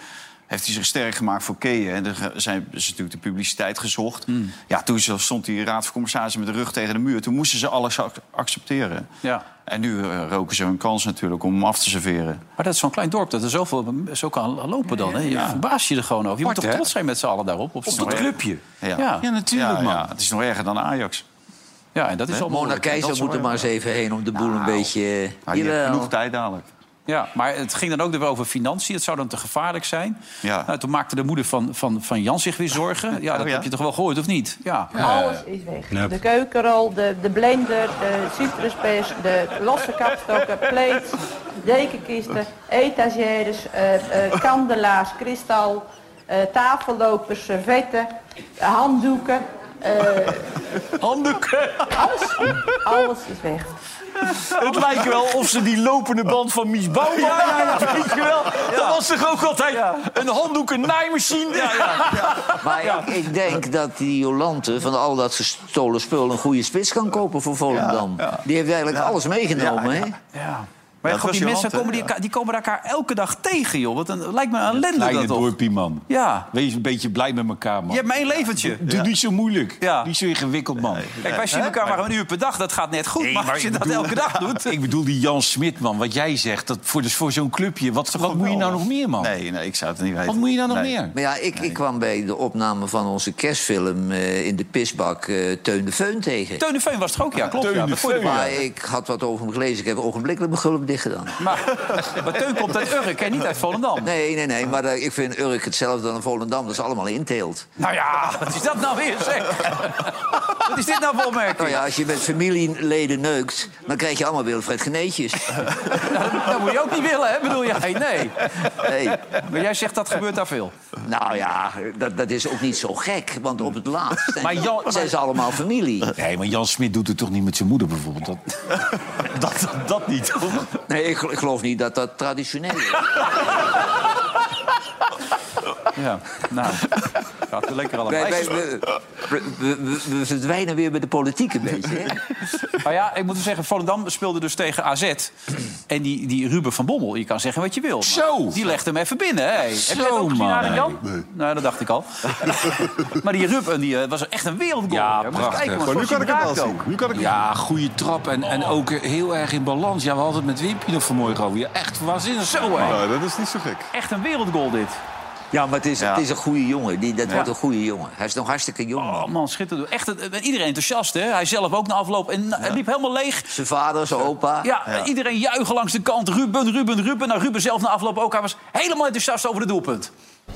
heeft hij zich sterk gemaakt voor Keeën. En er ge- zijn is natuurlijk de publiciteit gezocht. Ja, toen ze- stond die raad van commissarissen met de rug tegen de muur. Toen moesten ze alles ac- accepteren. Ja. En nu eh, roken ze hun kans natuurlijk om hem af te serveren. Maar dat is zo'n klein dorp dat er zoveel zo kan lopen dan. Hè? Je verbaast je er gewoon over. Je moet Apart, toch hè? trots zijn met z'n allen daarop. Op, zo'n dorp. Ja. Ja, natuurlijk, man. het is nog erger dan Ajax. Ja, en dat is allemaal... Mona Keizer moet er maar eens even heen om de boel een beetje... Nou, Maar je hebt Jawel. genoeg tijd dadelijk. Ja, maar het ging dan ook weer over financiën. Het zou dan te gevaarlijk zijn. Ja. Nou, toen maakte de moeder van, van, van Jan zich weer zorgen. Oh, Ja, dat ja? heb je toch wel gehoord, of niet? Ja. Alles is weg. Nep. De keukenrol, de, de blender, de citruspest, de losse kapstokken, plates, dekenkisten, etagères, eh, eh, kandelaars, kristal, eh, tafellopers, servetten, handdoeken. handdoeken? Alles, alles is weg. Het lijkt wel of ze die lopende band van Mies Bouwman... Weet je wel? Dat was toch ook altijd een handdoek, een naaimachine? Maar ik, ik denk dat die Jolante van al dat gestolen spul... een goede spits kan kopen voor Volendam. Die heeft eigenlijk alles meegenomen, hè? Ja. Maar Ja, god, het was die mensen Jolante, komen, die, die komen elkaar elke dag tegen, joh. Wat een, lijkt me een ellende Kleine dat toch? dorpie, man. Ja. Wees een beetje blij met elkaar, man. Je hebt mijn leventje. Doe niet zo moeilijk. Ja. Niet zo ingewikkeld, man. Kijk, wij zien Hè? elkaar maar een uur per dag. Dat gaat net goed. Nee, maar als je ik dat bedoel- elke dag doet... Ik bedoel die Jan Smit, man. Wat jij zegt, dat voor, dus voor zo'n clubje. Wat, wat moet je nou nog meer, man? Nee, nee, ik zou het niet weten. Wat moet je nou nog meer? Maar ja, ik, ik kwam bij de opname van onze kerstfilm eh, in de pisbak eh, Teun de Feun tegen. Teun de Feun was het ook, ja, klopt. ja, voor de Maar ik had wat over hem gelezen. Ik heb ogenblikkelijk mijn gulp dicht gedaan. Maar, maar Teun komt uit Urk, hè? Niet uit Volendam. Nee, nee, nee. Maar eh, ik vind Urk hetzelfde dan Volendam. Dat is allemaal inteelt. Nou ja, wat is dat nou weer, zeg? Wat is dit nou voor opmerking? Nou ja, als je met familieleden neukt, dan krijg je allemaal Wilfred Geneetjes. Dat moet je ook niet willen, hè? Bedoel jij? Nee. Nee. Maar jij zegt dat gebeurt daar veel. Nou ja, dat, dat is ook niet zo gek, want op het laatst zijn, Maar Jan- zijn ze allemaal familie. Nee, maar Jan Smit doet het toch niet met zijn moeder, bijvoorbeeld. Dat, Dat, dat niet. Nee, ik, gel- ik geloof niet dat dat traditioneel is. Ja, nou. Gaat er lekker allemaal. Wij- wij- we, we- we- we verdwijnen weer bij de politiek een beetje. hè? Maar ja, ik moet wel zeggen, Volendam speelde dus tegen AZ. En die, die Ruben van Bommel, je kan zeggen wat je wil. maar Die legt hem even binnen. hè. Heb je dat ook gezien, man. Arend Jan? Nou, dat dacht ik al. maar die Ruben die, eh, was echt een wereldgoal. Ja, moet je kijken, want zoals hij raakt ook. Ja, goede trap en, en ook heel erg in balans. Ja, we hadden het met Wimpje nog vanmorgen over. Ja, echt waanzinnig. Zo, hè. Nou, dat is niet zo gek. Echt een wereldgoal, dit. Ja, maar het is, Ja. het is een goede jongen. Die, dat Ja. wordt een goede jongen. Hij is nog hartstikke jong. Oh man, schitterend. Echt, het- iedereen enthousiast, hè? Hij zelf ook na afloop. En hij liep helemaal leeg. Zijn vader, zijn opa. Ja, eh, iedereen juichen langs de kant. Ruben, Ruben, Ruben. Nou, Ruben zelf na afloop ook. Hij was helemaal enthousiast over het doelpunt.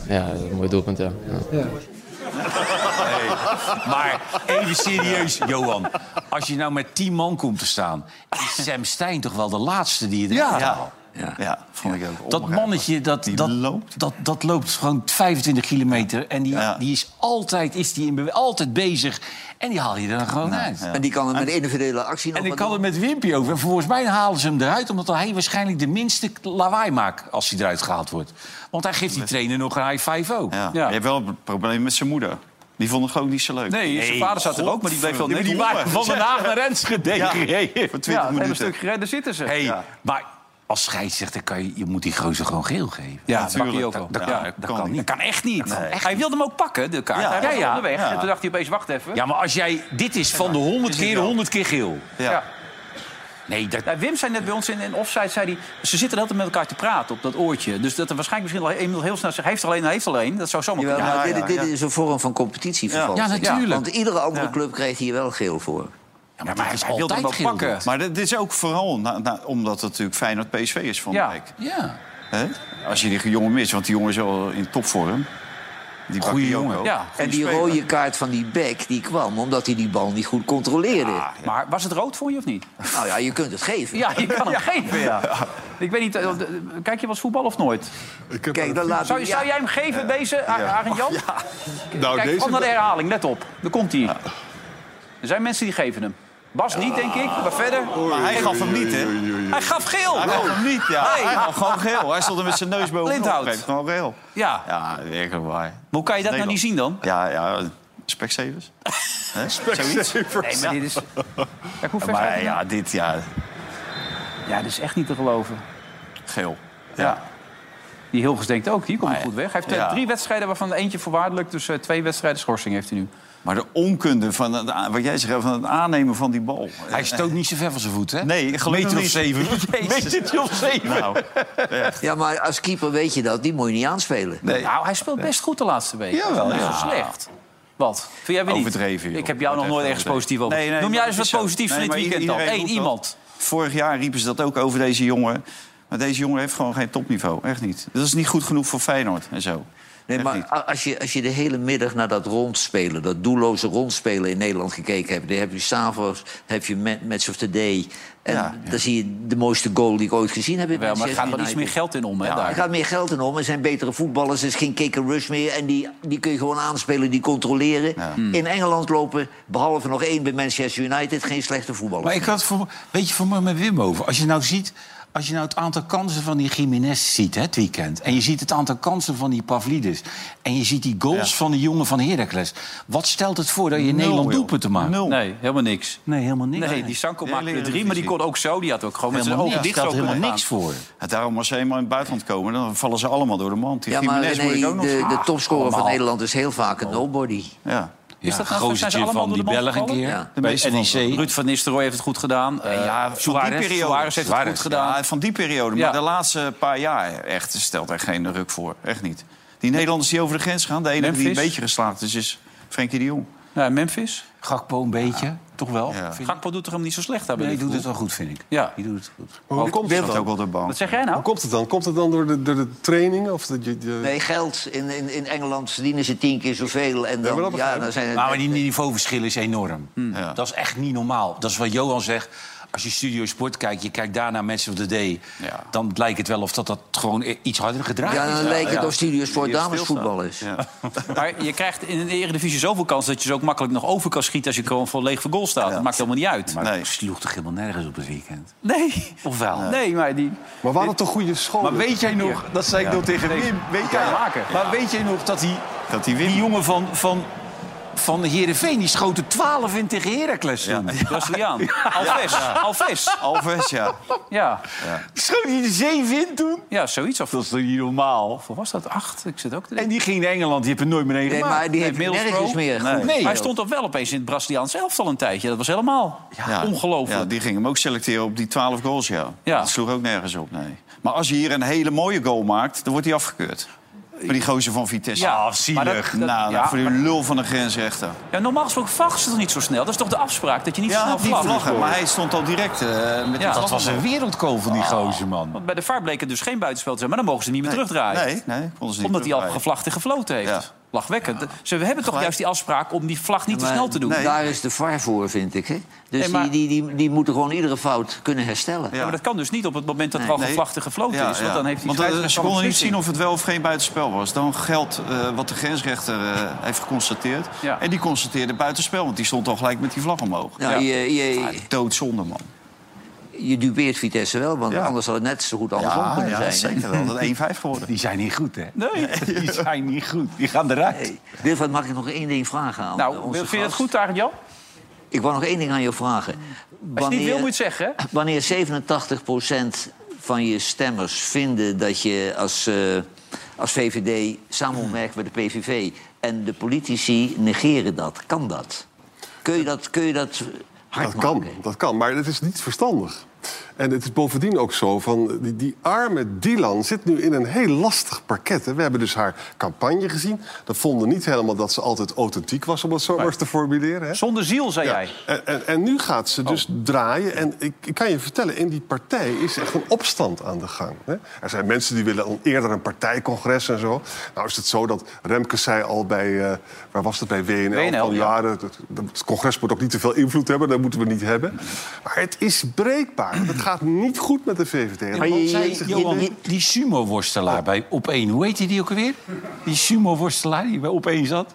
Ja, dat is een mooi doelpunt, ja. ja. Maar even serieus, Johan. Als je nou met tien man komt te staan... is Sam Stein toch wel de laatste die je eruit Ja. haalt? Ja, vond ik ook Dat mannetje, dat, dat, loopt. Dat, dat loopt gewoon 25 kilometer. En die, die is altijd, is die in bewe- altijd bezig. En die haal je er dan gewoon uit. En die kan hem met individuele actie nog En ik wat had het met Wimpy over. En volgens mij halen ze hem eruit... omdat hij waarschijnlijk de minste lawaai maakt als hij eruit gehaald wordt. Want hij geeft die trainer nog een high five ook. Ja. Je hebt wel een probleem met zijn moeder. Die vond het gewoon niet zo leuk. Nee, zijn vader zat er ook, maar die bleef wel net net waren van Den Haag naar Enschede Ja, gereden. voor 20 Ja, minuten. een stuk gereden, daar zitten ze. Hey, Ja. Maar als scheidsrechter kan je, je moet die gozer gewoon geel geven. Ja, dat mag hij ook wel. Dat, dat Ja, kan, dat dat kan kan niet. niet. Kan echt niet. Hij wilde hem ook pakken, de kaart. Ja, hij was ja, ja. onderweg. Ja. En toen dacht hij opeens, wacht even. Ja, maar als jij... Dit is van de 100 keer 100 keer geel. Ja. Nee, dat... Nou, Wim zei net bij ons in, in Offside, zei hij, ze zitten altijd met elkaar te praten op dat oortje. Dus dat er waarschijnlijk misschien al Emiel heel snel zegt, hij heeft er alleen, hij heeft er alleen. Dat zou zomaar Jawel, kunnen. maar dit, dit is een vorm van competitievervalsing. Ja, natuurlijk. Want iedere andere Ja. club krijgt hier wel geel voor. Ja, maar, hij, Hij wilde hem ook pakken. Maar dit dit is ook vooral na- na- omdat het natuurlijk Feyenoord PSV is van de week. Ja. Hè? Als je die jongen mist, want die jongen is wel in topvorm. Die Bakayoko. en Goeie die speler. rode kaart van die bek die kwam omdat hij die bal niet goed controleerde. Maar was het rood voor je of niet? Nou ja, je kunt het geven. Ja, je kan hem geven, ja. Ik weet niet, eh, eh, kijk je wel eens voetbal of nooit? Kijk, dan laat Zou, ja. zou jij hem geven, deze, Ar- Arend Jan? Nou, Kijk, deze- van naar de herhaling, let op. Daar komt hij. Er zijn mensen die geven hem. Bas niet, denk ik, maar verder. Maar hij gaf hem niet, hè? Hij gaf geel. Hij gaf hem niet, ja. Nee. Hij gaf gewoon geel. Hij stond er met zijn neus bovenop. Lindhout. Hij gaf Gewoon geel. Ja. Ja, werkelijk waar. Maar hoe kan je dat nou niet zien dan? Ja, ja. Specsavers. Hè? Specsavers. Nee, maar dit is- Kijk, hoe ver gaat Maar hij nou? ja, dit, ja. Ja, dat is echt niet te geloven. Geel. Ja. die Hilgers denkt ook, hier komt hij goed weg. Hij heeft eh, ja. drie wedstrijden waarvan eentje voorwaardelijk. Dus eh, twee wedstrijden schorsing heeft hij nu. Maar de onkunde van het, a- wat jij zegt, van het aannemen van die bal. Hij stoot niet zo ver van zijn voet, hè? Nee, gelukkig Meter of niet. zeven. Metertje of zeven. Nou, Ja, maar als keeper weet je dat. Die moet je niet aanspelen. Nou, hij speelt best goed de laatste weken. Jawel, Niet ja. zo slecht. Wat? Vind jij weer niet? Overdreven, joh. Ik heb jou nog nooit ergens positief over. Nee, nee, Noem maar jij eens dat is zo. wat positiefs Nee, van dit maar weekend dan. iedereen Eén doet dat. iemand. Vorig jaar riepen ze dat ook over deze jongen. Maar deze jongen heeft gewoon geen topniveau. Echt niet. Dat is niet goed genoeg voor Feyenoord en zo. Nee, maar a- als je, als je de hele middag naar dat rondspelen, dat doelloze rondspelen in Nederland gekeken hebt, dan heb je s'avonds, heb je Ma- Match of the Day. En dan zie je de mooiste goal die ik ooit gezien heb. Wel, in maar er Manchester gaat wel iets United. meer geld in om, hè, Ja, daar. er gaat meer geld in om. Er zijn betere voetballers. Er is geen kick and rush meer. En die, die kun je gewoon aanspelen, die controleren. In Engeland lopen, behalve nog één bij Manchester United, geen slechte voetballers. Maar ik had voor, weet je, voor me met Wim over. Als je nou ziet, als je nou het aantal kansen van die Jiménez ziet hè, het weekend. En je ziet het aantal kansen van die Pavlidis. En je ziet die goals van de jongen van Heracles. Wat stelt het voor dat je in Nederland doelpunten maakt? Nee, helemaal niks. Nee, helemaal niks. Nee, die Sanko De maakte er hele drie, maar die kon divisie. ook zo. Die had ook gewoon met zijn ogen dicht zo kunnen gaan. En daarom, als ze eenmaal in het buitenland komen, dan vallen ze allemaal door de mand. Die ja, maar Gimenez moet ik René, ook nog de, de Ah, topscorer van allemaal. Nederland is heel vaak Oh. een nobody. Ja. Ja, dat dat nou zo? Zijn ze gozer allemaal van die door de bal Belg een gevallen? keer. Ja. De meeste van ze. Ruud van Nistelrooy heeft het goed gedaan. Eh ja, Suarez, Suarez heeft het goed gedaan. Ja, van die periode. Maar de laatste paar jaar echt, stelt er geen ruk voor. Echt niet. Die Nederlanders die over de grens gaan, de enige die een Memphis. beetje geslaagd is, is Frenkie de Jong. Nou, Memphis? Gakpo een beetje, toch wel? Gakpo doet er hem niet zo slecht aan. bij Nee, die doet Liverpool. het wel goed, vind ik. Ja. Die doet het goed. Maar hoe komt het dan? Wat zeg jij nou? Hoe komt het dan? Komt het dan door de, door de training? Of de, je- je- Nee, geld. In, in, in Engeland verdienen ze tien keer zoveel. En dan, ja, dan zijn het... Nou, maar die niveauverschil is enorm. Dat is echt niet normaal. Dat is wat Johan zegt. Als je Studio Sport kijkt, je kijkt daarna Match of the Day... dan lijkt het wel of dat, dat gewoon i- iets harder gedrag Ja, is. dan lijkt het of Studio Sport damesvoetbal is. Maar je krijgt in de Eredivisie zoveel kansen... dat je ze ook makkelijk nog over kan schieten... als je gewoon vol leeg voor goal staat. Dat maakt helemaal niet uit. Maar het sloeg toch helemaal nergens op het weekend? Nee. Of wel? Nee, maar die... Maar we hadden toch goede scholen? Maar weet jij nog, dat zei ik nog tegen Wim. Weet jij, maar weet jij nog dat die, dat die, jongen van, van, van de Heerenveen... die schoten 12 in tegen Heracles toen. Braziliaan. Alves. Ja. Alves. Alves, ja. Ja. Schoot hij de zeven in toen? Ja, zoiets. Of... Dat is toch niet normaal? Hoeveel was dat? Acht? Ik zit ook te En die ging naar Engeland, die heeft er nooit meer een Nee, gemaakt. maar die heeft Nee, Middlesbrough. nergens meer Nee. goed. Hij stond toch wel opeens in het Braziliaans elftal een tijdje. Dat was helemaal Ja. ongelooflijk. Ja, die ging hem ook selecteren op die 12 goals, ja. Dat sloeg ook nergens op, nee. Maar als je hier een hele mooie goal maakt, dan wordt hij afgekeurd. Voor die gozer van Vitesse. Ja, Ah, maar dat- dat- nou, ja, voor die maar- lul van de grensrechter. Ja, normaal gesproken vlaggen ze toch niet zo snel? Dat is toch de afspraak, dat je niet zo Ja, snel die vlaggen? vlaggen. Maar hij stond al direct eh, met Ja, die dat was een wereldkool van die gozer, man. Want bij de VAR bleek het dus geen buitenspel te zijn. Maar dan mogen ze hem niet meer Nee, terugdraaien. nee, nee, konden ze niet Omdat hij al terugdraaien. gevlacht en gefloten heeft. Lachwekkend. Ze hebben toch juist die afspraak om die vlag niet te Maar snel te doen. Nou, Daar is de VAR voor, vind ik. Hè? Dus Nee, maar- die, die, die, die moeten gewoon iedere fout kunnen herstellen. Ja, maar dat kan dus niet op het moment dat er al Nee. gevlacht en gefloten Ja, is. Want ja. dan heeft die Want, eh, scheidsrechter ze al een konden niet beslissing. zien of het wel of geen buitenspel was. Dan geldt eh, wat de grensrechter eh, heeft geconstateerd. Ja. En die constateerde buitenspel, want die stond al gelijk met die vlag omhoog. Nou, je- je- Ah, doodzonde, man. Je dupeert Vitesse wel, want Ja. anders had het net zo goed andersom Ja, kunnen Ah ja, zijn. hè? zeker wel. Dat 1-5 geworden. Die zijn niet goed, hè? Nee. Die zijn niet goed. Die gaan eruit. Wilfred, mag ik nog één ding vragen aan Nou, onze vind je dat gast? goed, Arend Jan? Ik wou nog één ding aan je vragen. Als je het niet wil, moet je het zeggen. hè? Wanneer 87% van je stemmers vinden dat je als, eh, als VVD samenwerkt met de PVV... en de politici negeren dat, kan dat? Kun je dat, kun je dat hard Dat kan, maken? dat kan, maar dat is niet verstandig. En het is bovendien ook zo van die, die arme Dylan zit nu in een heel lastig parket. hè. We hebben dus haar campagne gezien. Dat vonden niet helemaal dat ze altijd authentiek was, om dat zo maar eens te formuleren. Hè? Zonder ziel, zei jij. En, en, en nu gaat ze dus draaien. En ik, ik kan je vertellen, in die partij is echt een opstand aan de gang. Hè? Er zijn mensen die willen al eerder een partijcongres en zo. Nou is het zo dat Remke zei al bij... eh, waar was dat? Bij WNL. WNL, van, ja. ja, dat, dat- het congres moet ook niet te veel invloed hebben. Dat moeten we niet hebben. Maar het is breekbaar. Het gaat niet goed met de VVD. Het Maar land je, zit zich niet in. die sumo-worstelaar bij Op1, hoe heet die ook alweer? Die sumo-worstelaar die bij Op1 zat?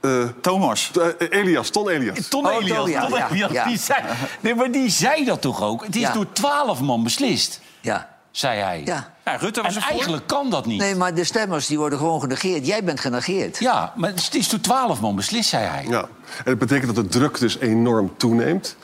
Eh, Thomas. eh, Elias, Ton Elias. Ton Oh, Elias, Ton, ja, Ton ja, Elias, ja. Die, zei, nee, maar die zei dat toch ook? Het is Ja. door twaalf man beslist, Ja. zei hij. Ja. Rutte en eigenlijk kan dat niet. Nee, maar de stemmers die worden gewoon genegeerd. Jij bent genegeerd. Ja, maar het is door twaalf man beslist, zei hij. Ja, en dat betekent dat de druk dus enorm toeneemt.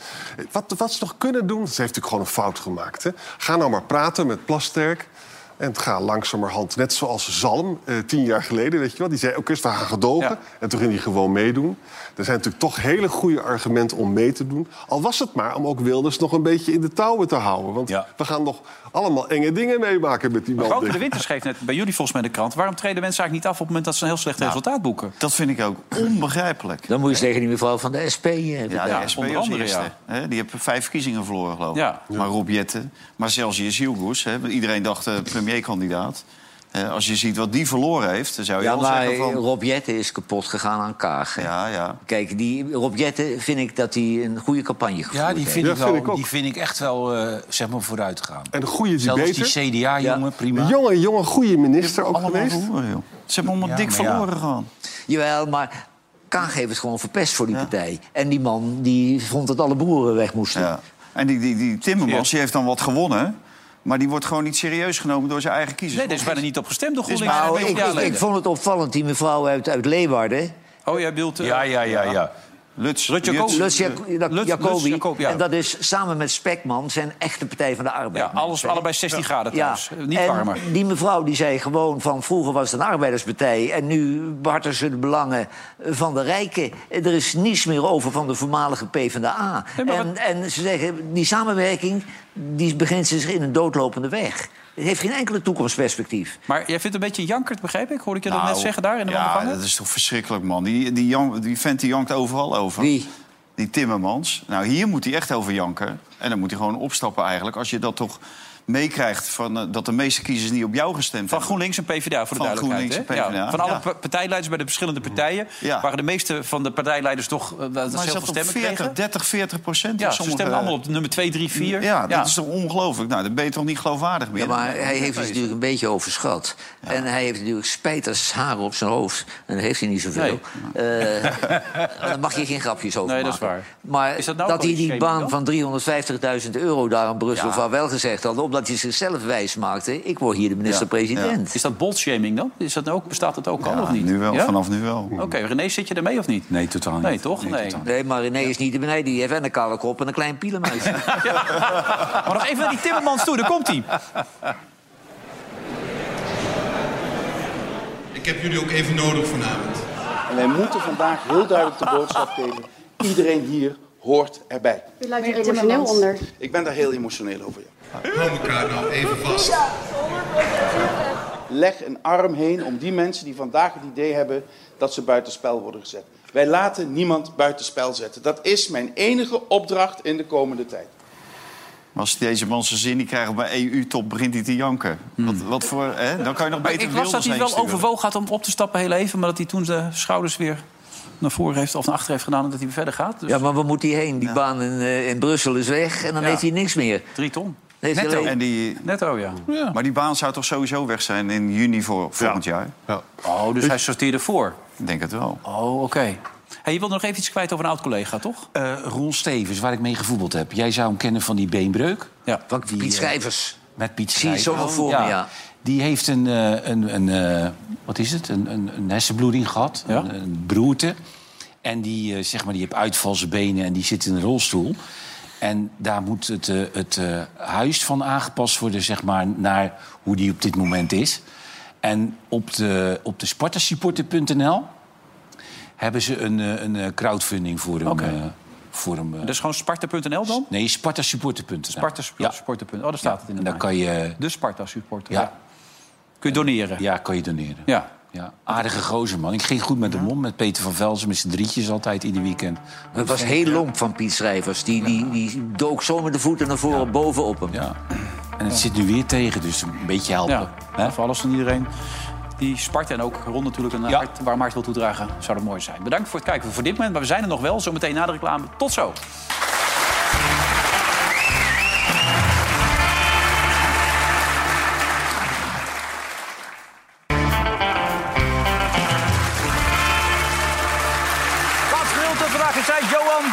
Wat, wat ze nog kunnen doen, ze heeft natuurlijk gewoon een fout gemaakt. Hè? Ga nou maar praten met Plasterk. En het gaat langzamerhand, net zoals Zalm, eh, tien jaar geleden, weet je wel. Die zei, oké, is daar gaan gedogen. En toen ging hij gewoon meedoen. Er zijn natuurlijk toch hele goede argumenten om mee te doen. Al was het maar om ook Wilders nog een beetje in de touwen te houden. Want we gaan nog allemaal enge dingen meemaken met die man. Grote denk de ik. Winter schreef net bij jullie volgens mij in de krant... waarom treden mensen eigenlijk niet af op het moment dat ze een heel slecht resultaat boeken? Dat vind ik ook onbegrijpelijk. Dan moet je eens tegen die mevrouw van de SP. eh, Ja, de vertellen. SP als eerste. Hè, Die hebben vijf verkiezingen verloren, geloof ik. Ja. Maar Rob Jetten, maar zelfs Jezilgoes. hè, want Iedereen dacht eh, premierkandidaat. Eh, als je ziet wat die verloren heeft, dan zou je Ja, wel maar eh, zeggen eh, van... Rob Jetten is kapot gegaan aan Kaag. hè. Kijk, die, Rob Jetten vind ik dat hij een goede campagne gevoerd Ja, die vind, heeft. ik wel, die vind ik echt wel eh, zeg maar vooruit gegaan. En een goede Zelfs debater. die CDA-jongen, prima. Een jonge, jonge, goede minister ook geweest. Ze hebben allemaal dik verloren gewoon. Jawel, maar Kaag heeft het gewoon verpest voor die partij. En die man die vond dat alle boeren weg moesten. En die, die, die Timmermans die heeft dan wat gewonnen... maar die wordt gewoon niet serieus genomen door zijn eigen kiezers. Nee, daar is bijna niet op gestemd door Dit is GroenLinks. maar- Dus een Nou, beetje ik, ik, ik geleden. vond het opvallend, die mevrouw uit, uit Leeuwarden. Oh, jij beeldt... Ja, ja, ja, ja. Lutz, Lutz Jacobi. Lutz Jac- Jac- Lutz- Lutz Jacobi. Jacob, ja. En dat is samen met Spekman zijn echt de Partij van de Arbeid. Ja, alles, allebei 16 graden trouwens. Eh, Niet en warmer. Die mevrouw die zei gewoon van vroeger was het een arbeiderspartij... en nu behartigen ze de belangen van de rijken. Er is niets meer over van de voormalige PvdA. en, en ze zeggen, die samenwerking die begint zich in een doodlopende weg. Het heeft geen enkele toekomstperspectief. Maar jij vindt het een beetje jankert, begrijp ik? Hoorde ik je dat net Nou, zeggen daar in de Ja, wandelgangen? dat is toch verschrikkelijk, man. Die, die, jank- die vent die jankt overal over. Wie? Die Timmermans. Nou, hier moet hij echt over janken. En dan moet hij gewoon opstappen eigenlijk. Als je dat toch meekrijgt van, eh, dat de meeste kiezers niet op jou gestemd Van GroenLinks en PvdA, voor de Van duidelijkheid. GroenLinks hè? en PvdA, Ja, van alle ja. Mm. pa- partijleiders bij de verschillende partijen... Ja. waren de meeste van de partijleiders toch... eh, dat ze Maar heel is veel dat op stemmen 40, kregen. 30, 40 procent? Ja, ze stemmen allemaal op nummer 2, 3, 4. Ja, dat is toch ongelooflijk? Nou, dan ben je toch niet geloofwaardig meer? Ja, maar hij heeft het natuurlijk een beetje overschat. En hij heeft natuurlijk spijt als haren op zijn hoofd. En dat heeft hij niet zoveel. Eh daar mag je geen grapjes over Nee, dat is maken. waar. Maar Is dat, dat nou ook hij al iets die baan shaming van 350.000 euro daar in Brussel Ja. van wel gezegd had... omdat hij zichzelf wijs maakte, ik word hier de minister-president. Ja. Is dat bolshaming dan? Is dat nou ook, bestaat dat ook al of niet? nu wel, Ja? vanaf nu wel. Oké, René, zit je ermee of niet? Nee, totaal niet. Nee, toch? Nee. Nee, maar René is niet de beneden. Die heeft en een kale kop en een klein pielenmuis. Maar nog even naar die Timmermans toe, daar komt hij. Ik heb jullie ook even nodig vanavond. En wij moeten vandaag heel duidelijk de boodschap geven. Iedereen hier hoort erbij. U lijkt er emotioneel onder. Ik ben daar heel emotioneel over. Ja. Hou elkaar nou even vast. Leg een arm heen om die mensen die vandaag het idee hebben dat ze buitenspel worden gezet. Wij laten niemand buitenspel zetten. Dat is mijn enige opdracht in de komende tijd. Als deze man zijn zin niet krijgt bij EU-top, begint hij te janken. Wat, wat voor, hè? Dan kan je nog Hmm. Maar beter ik las dat Wilders hij heen wel sturen. overwogen had om op te stappen heel even... maar dat hij toen zijn schouders weer naar voren heeft of naar achter heeft gedaan... en dat hij weer verder gaat. Dus Ja, maar waar moet hij heen? Die baan in, eh, in Brussel is weg en dan Ja. heeft hij niks meer. Drie ton. Heeft hij alleen- En die, Netto, oh ja. Maar die baan zou toch sowieso weg zijn in juni voor, volgend jaar? Oh, dus hij sorteerde voor? Ik denk het wel. Oh, oké. Hey, je wilde nog even iets kwijt over een oud-collega, toch? Eh, Ron Stevens, waar ik mee gevoetbald heb. Jij zou hem kennen van die beenbreuk. Ja, van Piet Schrijvers. Met Piet Zie je Schrijvers. zo nog voor me, ja. Die heeft een, eh, een, een eh, wat is het? Een, een, een hersenbloeding gehad, een, een beroerte. En die, eh, zeg maar, die heeft uitvalse benen en die zit in een rolstoel. En daar moet het, eh, het eh, huis van aangepast worden, zeg maar, naar hoe die op dit moment is. En op de, op de spartasupporter.nl hebben ze een, eh, een eh, crowdfunding voor hem. eh, voor hem eh, Dat is gewoon sparta.nl dan? Nee, Sparta-supporter.nl. Sparta-supporter.nl. Oh, daar staat het in. En dan kan je... De Sparta-supporter. Ja. Kun je doneren? Ja, kan je doneren. Ja. Ja, aardige gozer, man. Ik ging goed met hem om, met Peter van Velzen, met z'n drietjes altijd ieder weekend. Het was heel lomp van Piet Schrijvers. Die, die, die dook zo met de voeten naar voren boven op hem. Ja. En het zit nu weer tegen, dus een beetje helpen. Ja, voor alles en iedereen. Die Sparta en ook Ron natuurlijk een hart, warm hart wil toedragen, zou dat mooi zijn. Bedankt voor het kijken voor dit moment, maar we zijn er nog wel. Zometeen na de reclame. Tot zo. Laatste gedeelte vandaag is zij Johan,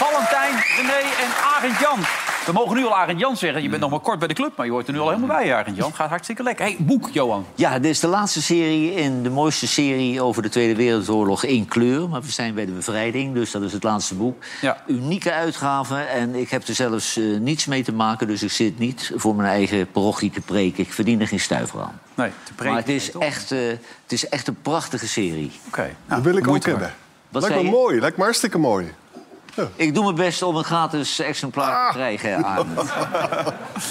Valentijn, René en Arend Jan. We mogen nu al Arend Jan zeggen. Je bent nog maar kort bij de club, maar je hoort er nu al helemaal bij, Arend Jan. Gaat hartstikke lekker. hey, boek, Johan. Ja, dit is de laatste serie in de mooiste serie over de Tweede Wereldoorlog in kleur. Maar we zijn bij de bevrijding, dus dat is het laatste boek. Unieke uitgave en ik heb er zelfs eh, niets mee te maken. Dus ik zit niet voor mijn eigen parochie te preken. Ik verdien er geen stuiver aan. Nee, maar het is, echt, eh, het is echt een prachtige serie. Oké, Nou, Die wil ik ook hebben. Wat lijkt me zei je? mooi, lijkt me hartstikke mooi. Ik doe mijn best om een gratis exemplaar te krijgen, Arend.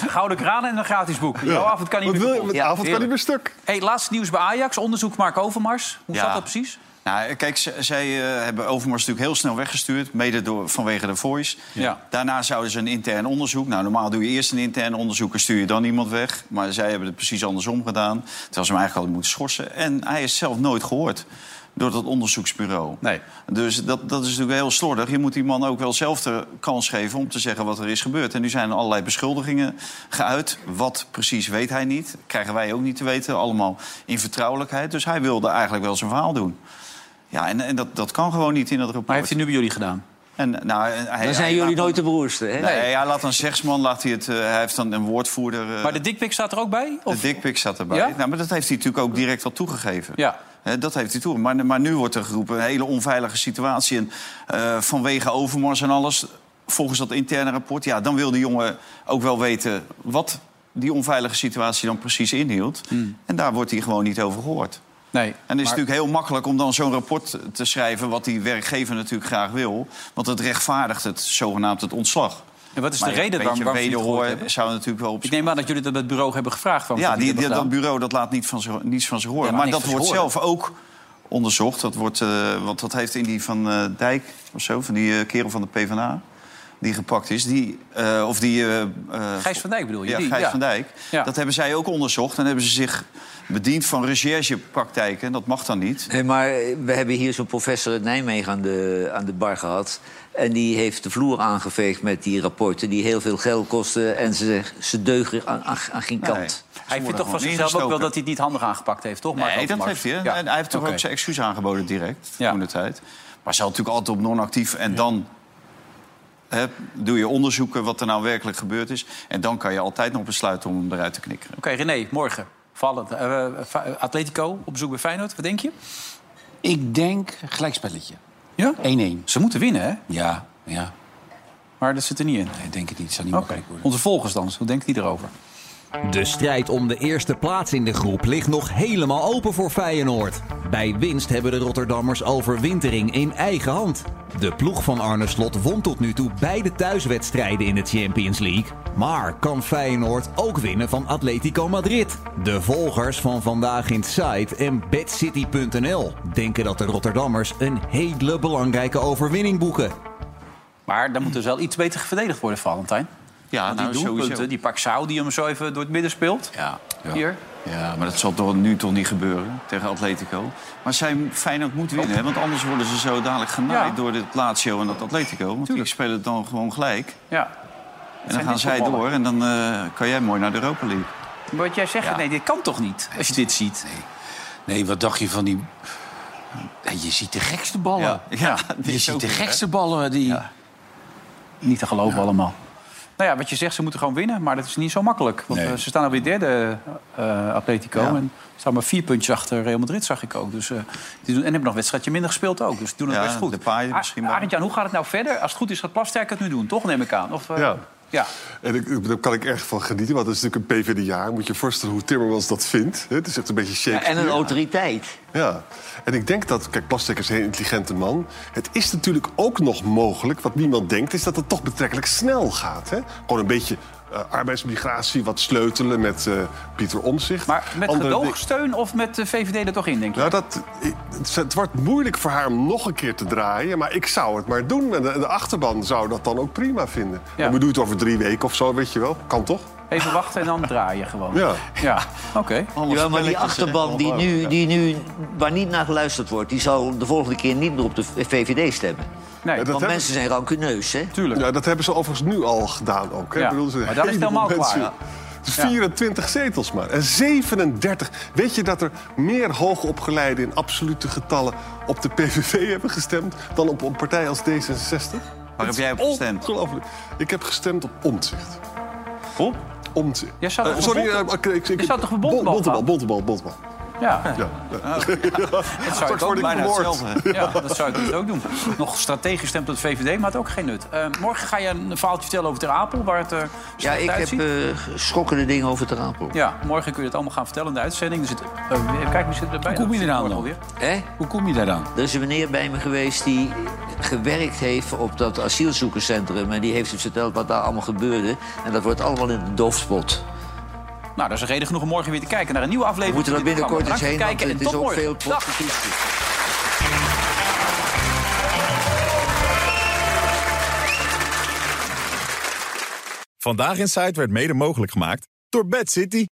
Gouden kraan en een gratis boek. Jouw avond kan niet Wat meer wil je? Met Ja, avond kan heerlijk. niet stuk. hey, laatste nieuws bij Ajax. Onderzoek Mark Overmars. Hoe zat dat precies? Nou, kijk, z- zij eh, hebben Overmars natuurlijk heel snel weggestuurd. Mede door, vanwege de Voice. Ja. Daarna zouden ze een intern onderzoek. Nou, normaal doe je eerst een intern onderzoek en stuur je dan iemand weg. Maar zij hebben het precies andersom gedaan. Terwijl ze hem eigenlijk hadden moeten schorsen. En hij is zelf nooit gehoord door dat onderzoeksbureau. Nee. Dus dat, dat is natuurlijk heel slordig. Je moet die man ook wel zelf de kans geven om te zeggen wat er is gebeurd. En nu zijn er allerlei beschuldigingen geuit. Wat precies weet hij niet. Krijgen wij ook niet te weten. Allemaal in vertrouwelijkheid. Dus hij wilde eigenlijk wel zijn verhaal doen. Ja, en, en dat, dat kan gewoon niet in dat rapport. Maar heeft hij nu bij jullie gedaan? En, nou, en hij, Dan zijn hij- jullie hij- nooit de broerste, hè? Nee, hij laat een zegsman, laat hij, het, eh, hij heeft dan een woordvoerder... eh, Maar de dikpik staat er ook bij? de dikpik zat erbij. Ja? Nou, maar dat heeft hij natuurlijk ook direct al toegegeven. Ja. Hè, dat heeft hij toe. Maar, maar nu wordt er geroepen, een hele onveilige situatie. En eh, vanwege overmars en alles, volgens dat interne rapport... ja, dan wil de jongen ook wel weten wat die onveilige situatie dan precies inhield. En daar wordt hij gewoon niet over gehoord. Nee. En het is maar- natuurlijk heel makkelijk om dan zo'n rapport te schrijven... wat die werkgever natuurlijk graag wil. Want het rechtvaardigt het zogenaamd het ontslag. En wat is Maar de een reden beetje waarom, waarom ze het wederhoor gehoord hebben? zou natuurlijk wel op Ik neem aan dat jullie dat bij het bureau hebben gevraagd. waarom Ja, ze het die, niet die- hebben dat gedaan. bureau dat laat niet van zich- niets van zich horen. Ja, maar maar niks dat van wordt zich zelf ook onderzocht. Dat wordt, eh, want dat heeft in die van eh, Dijk of zo, van die eh, kerel van de PvdA... die gepakt is, die, eh, of die... eh, eh, Gijs van Dijk bedoel je? ja, Die, Gijs ja. van Dijk. Dat hebben zij ook onderzocht. En hebben ze zich bediend van recherchepraktijken. En dat mag dan niet. Nee, maar we hebben hier zo'n professor uit Nijmegen aan de, aan de bar gehad. En die heeft de vloer aangeveegd met die rapporten... die heel veel geld kosten en ze, ze deugen aan, aan, aan geen kant. Hij vindt toch van zichzelf ook wel dat hij het niet handig aangepakt heeft, toch? Mark Nee, dat Overmars? heeft hij. hè? Ja. En hij heeft toch Oké. ook zijn excuus aangeboden direct, toen de tijd. Maar ze had natuurlijk altijd op non-actief. En dan hè, doe je onderzoeken wat er nou werkelijk gebeurd is. En dan kan je altijd nog besluiten om hem eruit te knikkeren. Oké, René, morgen. Vallend. Eh, eh, Fa- Atletico op bezoek bij Feyenoord. Wat denk je? Ik denk gelijkspelletje. Ja? 1-1. Ze moeten winnen, hè? Ja, ja. Maar dat zit er niet in. Nee, denk het niet. Het zou niet makkelijk worden. Onze volgers dan, hoe denkt die erover? De strijd om de eerste plaats in de groep ligt nog helemaal open voor Feyenoord. Bij winst hebben de Rotterdammers al verwintering in eigen hand. De ploeg van Arne Slot won tot nu toe beide thuiswedstrijden in de Champions League. Maar kan Feyenoord ook winnen van Atletico Madrid? De volgers van Vandaag in Site en BadCity.nl denken dat de Rotterdammers een hele belangrijke overwinning boeken. Maar dan moet er wel iets beter verdedigd worden, Valentijn. Ja, Want die nou, doelpunten, sowieso. die Paxau die hem zo even door het midden speelt. Ja. Hier. Ja, maar dat zal toch nu toch niet gebeuren tegen Atletico. Maar zij, Feyenoord moet winnen, hè? want anders worden ze zo dadelijk genaaid... door dit Lazio en dat Atletico. Want die spelen het dan gewoon gelijk. Ja. En dan zijn gaan dit zij voetballen. door en dan eh, kan jij mooi naar de Europa League. Maar wat jij zegt, nee, dit kan toch niet? Als je dit ziet. Nee, wat dacht je van die... Nee, Je ziet de gekste ballen. Ja, ja, dit je is ook ziet de weer, gekste ballen. Die... Niet te geloven allemaal. Nou ja, wat je zegt, ze moeten gewoon winnen. Maar dat is niet zo makkelijk. Want Nee. eh, ze staan alweer derde, eh, Atletico. Ja. En ze staan maar vier puntjes achter Real Madrid, zag ik ook. Dus, eh, die doen, en hebben nog een wedstrijdje minder gespeeld ook. Dus die doen het Ja, best goed. de paaien Ar- misschien wel. Arend-Jan, hoe gaat het nou verder? Als het goed is, gaat Plasterk het nu doen, toch? Neem ik aan. Of, eh, Ja. ja. En ik- ik, daar kan ik erg van genieten, want dat is natuurlijk een PvdA. Moet je je voorstellen hoe Timmermans dat vindt. hè? Het is echt een beetje Ja, Shakespeare. en een autoriteit. Ja, en ik denk dat... Kijk, Plastic is een heel intelligente man. Het is natuurlijk ook nog mogelijk, wat niemand denkt... is dat het toch betrekkelijk snel gaat. Hè? Gewoon een beetje eh, arbeidsmigratie, wat sleutelen met eh, Pieter Omzicht. Maar Met gedoogsteun of met de VVD er toch in, denk je? Nou, dat, het, het wordt moeilijk voor haar om nog een keer te draaien. Maar ik zou het maar doen. En de, de achterban zou dat dan ook prima vinden. Ja. En we doen het over drie weken of zo, weet je wel. Kan toch? Even wachten en dan draaien gewoon. Ja. Ja, oké. Ja, maar die achterban die nu, die nu, waar niet naar geluisterd wordt... die zal de volgende keer niet meer op de VVD stemmen. Nee, Want mensen zijn rancuneus, hè? Tuurlijk. Ja, dat hebben ze overigens nu al gedaan ook. Hè? Ja, Ik bedoel, ze maar dan is het helemaal heleboel klaar, mensen- Dus 24 zetels maar. En 37. Weet je dat er meer hoogopgeleiden in absolute getallen... op de PVV hebben gestemd dan op een partij als D66? Waar heb jij op gestemd? Ongelooflijk. Ik heb gestemd op omzicht. Op? Omzicht. Jij zou toch op sorry, Bonte- eh, ik, ik, ik, Je zou toch op Bontebal Bontebal, gaan? Bontebal, Bontebal. Ja. Ah. Ja. Dat zou Straks ik word ook ik bijna vermoord. hetzelfde. Ja, dat zou ik dus ook doen. Nog strategisch stemt op de VVD, maar het ook geen nut. Eh, morgen ga je een verhaaltje vertellen over Ter Apel, waar het er Ja, ik heb uitziet. eh, schokkende dingen over Ter Apel. Ja, morgen kun je het allemaal gaan vertellen in de uitzending. Er zit, eh, even kijken, wie zit erbij? Hoe kom je Dat eraan zit morgen dan? alweer. Hè? Hoe kom je daar dan? Er is een meneer bij me geweest die gewerkt heeft op dat asielzoekerscentrum. En die heeft het verteld wat daar allemaal gebeurde. En dat wordt allemaal in de doofspot. Nou, dat is een reden genoeg om morgen weer te kijken naar een nieuwe We aflevering. moeten er van dit binnenkort eens programma. heen, Bedankt want voor het het kijken en tot is ook veel morgen. Dag. prostitutie. Vandaag in Zuid werd mede mogelijk gemaakt door Bad City.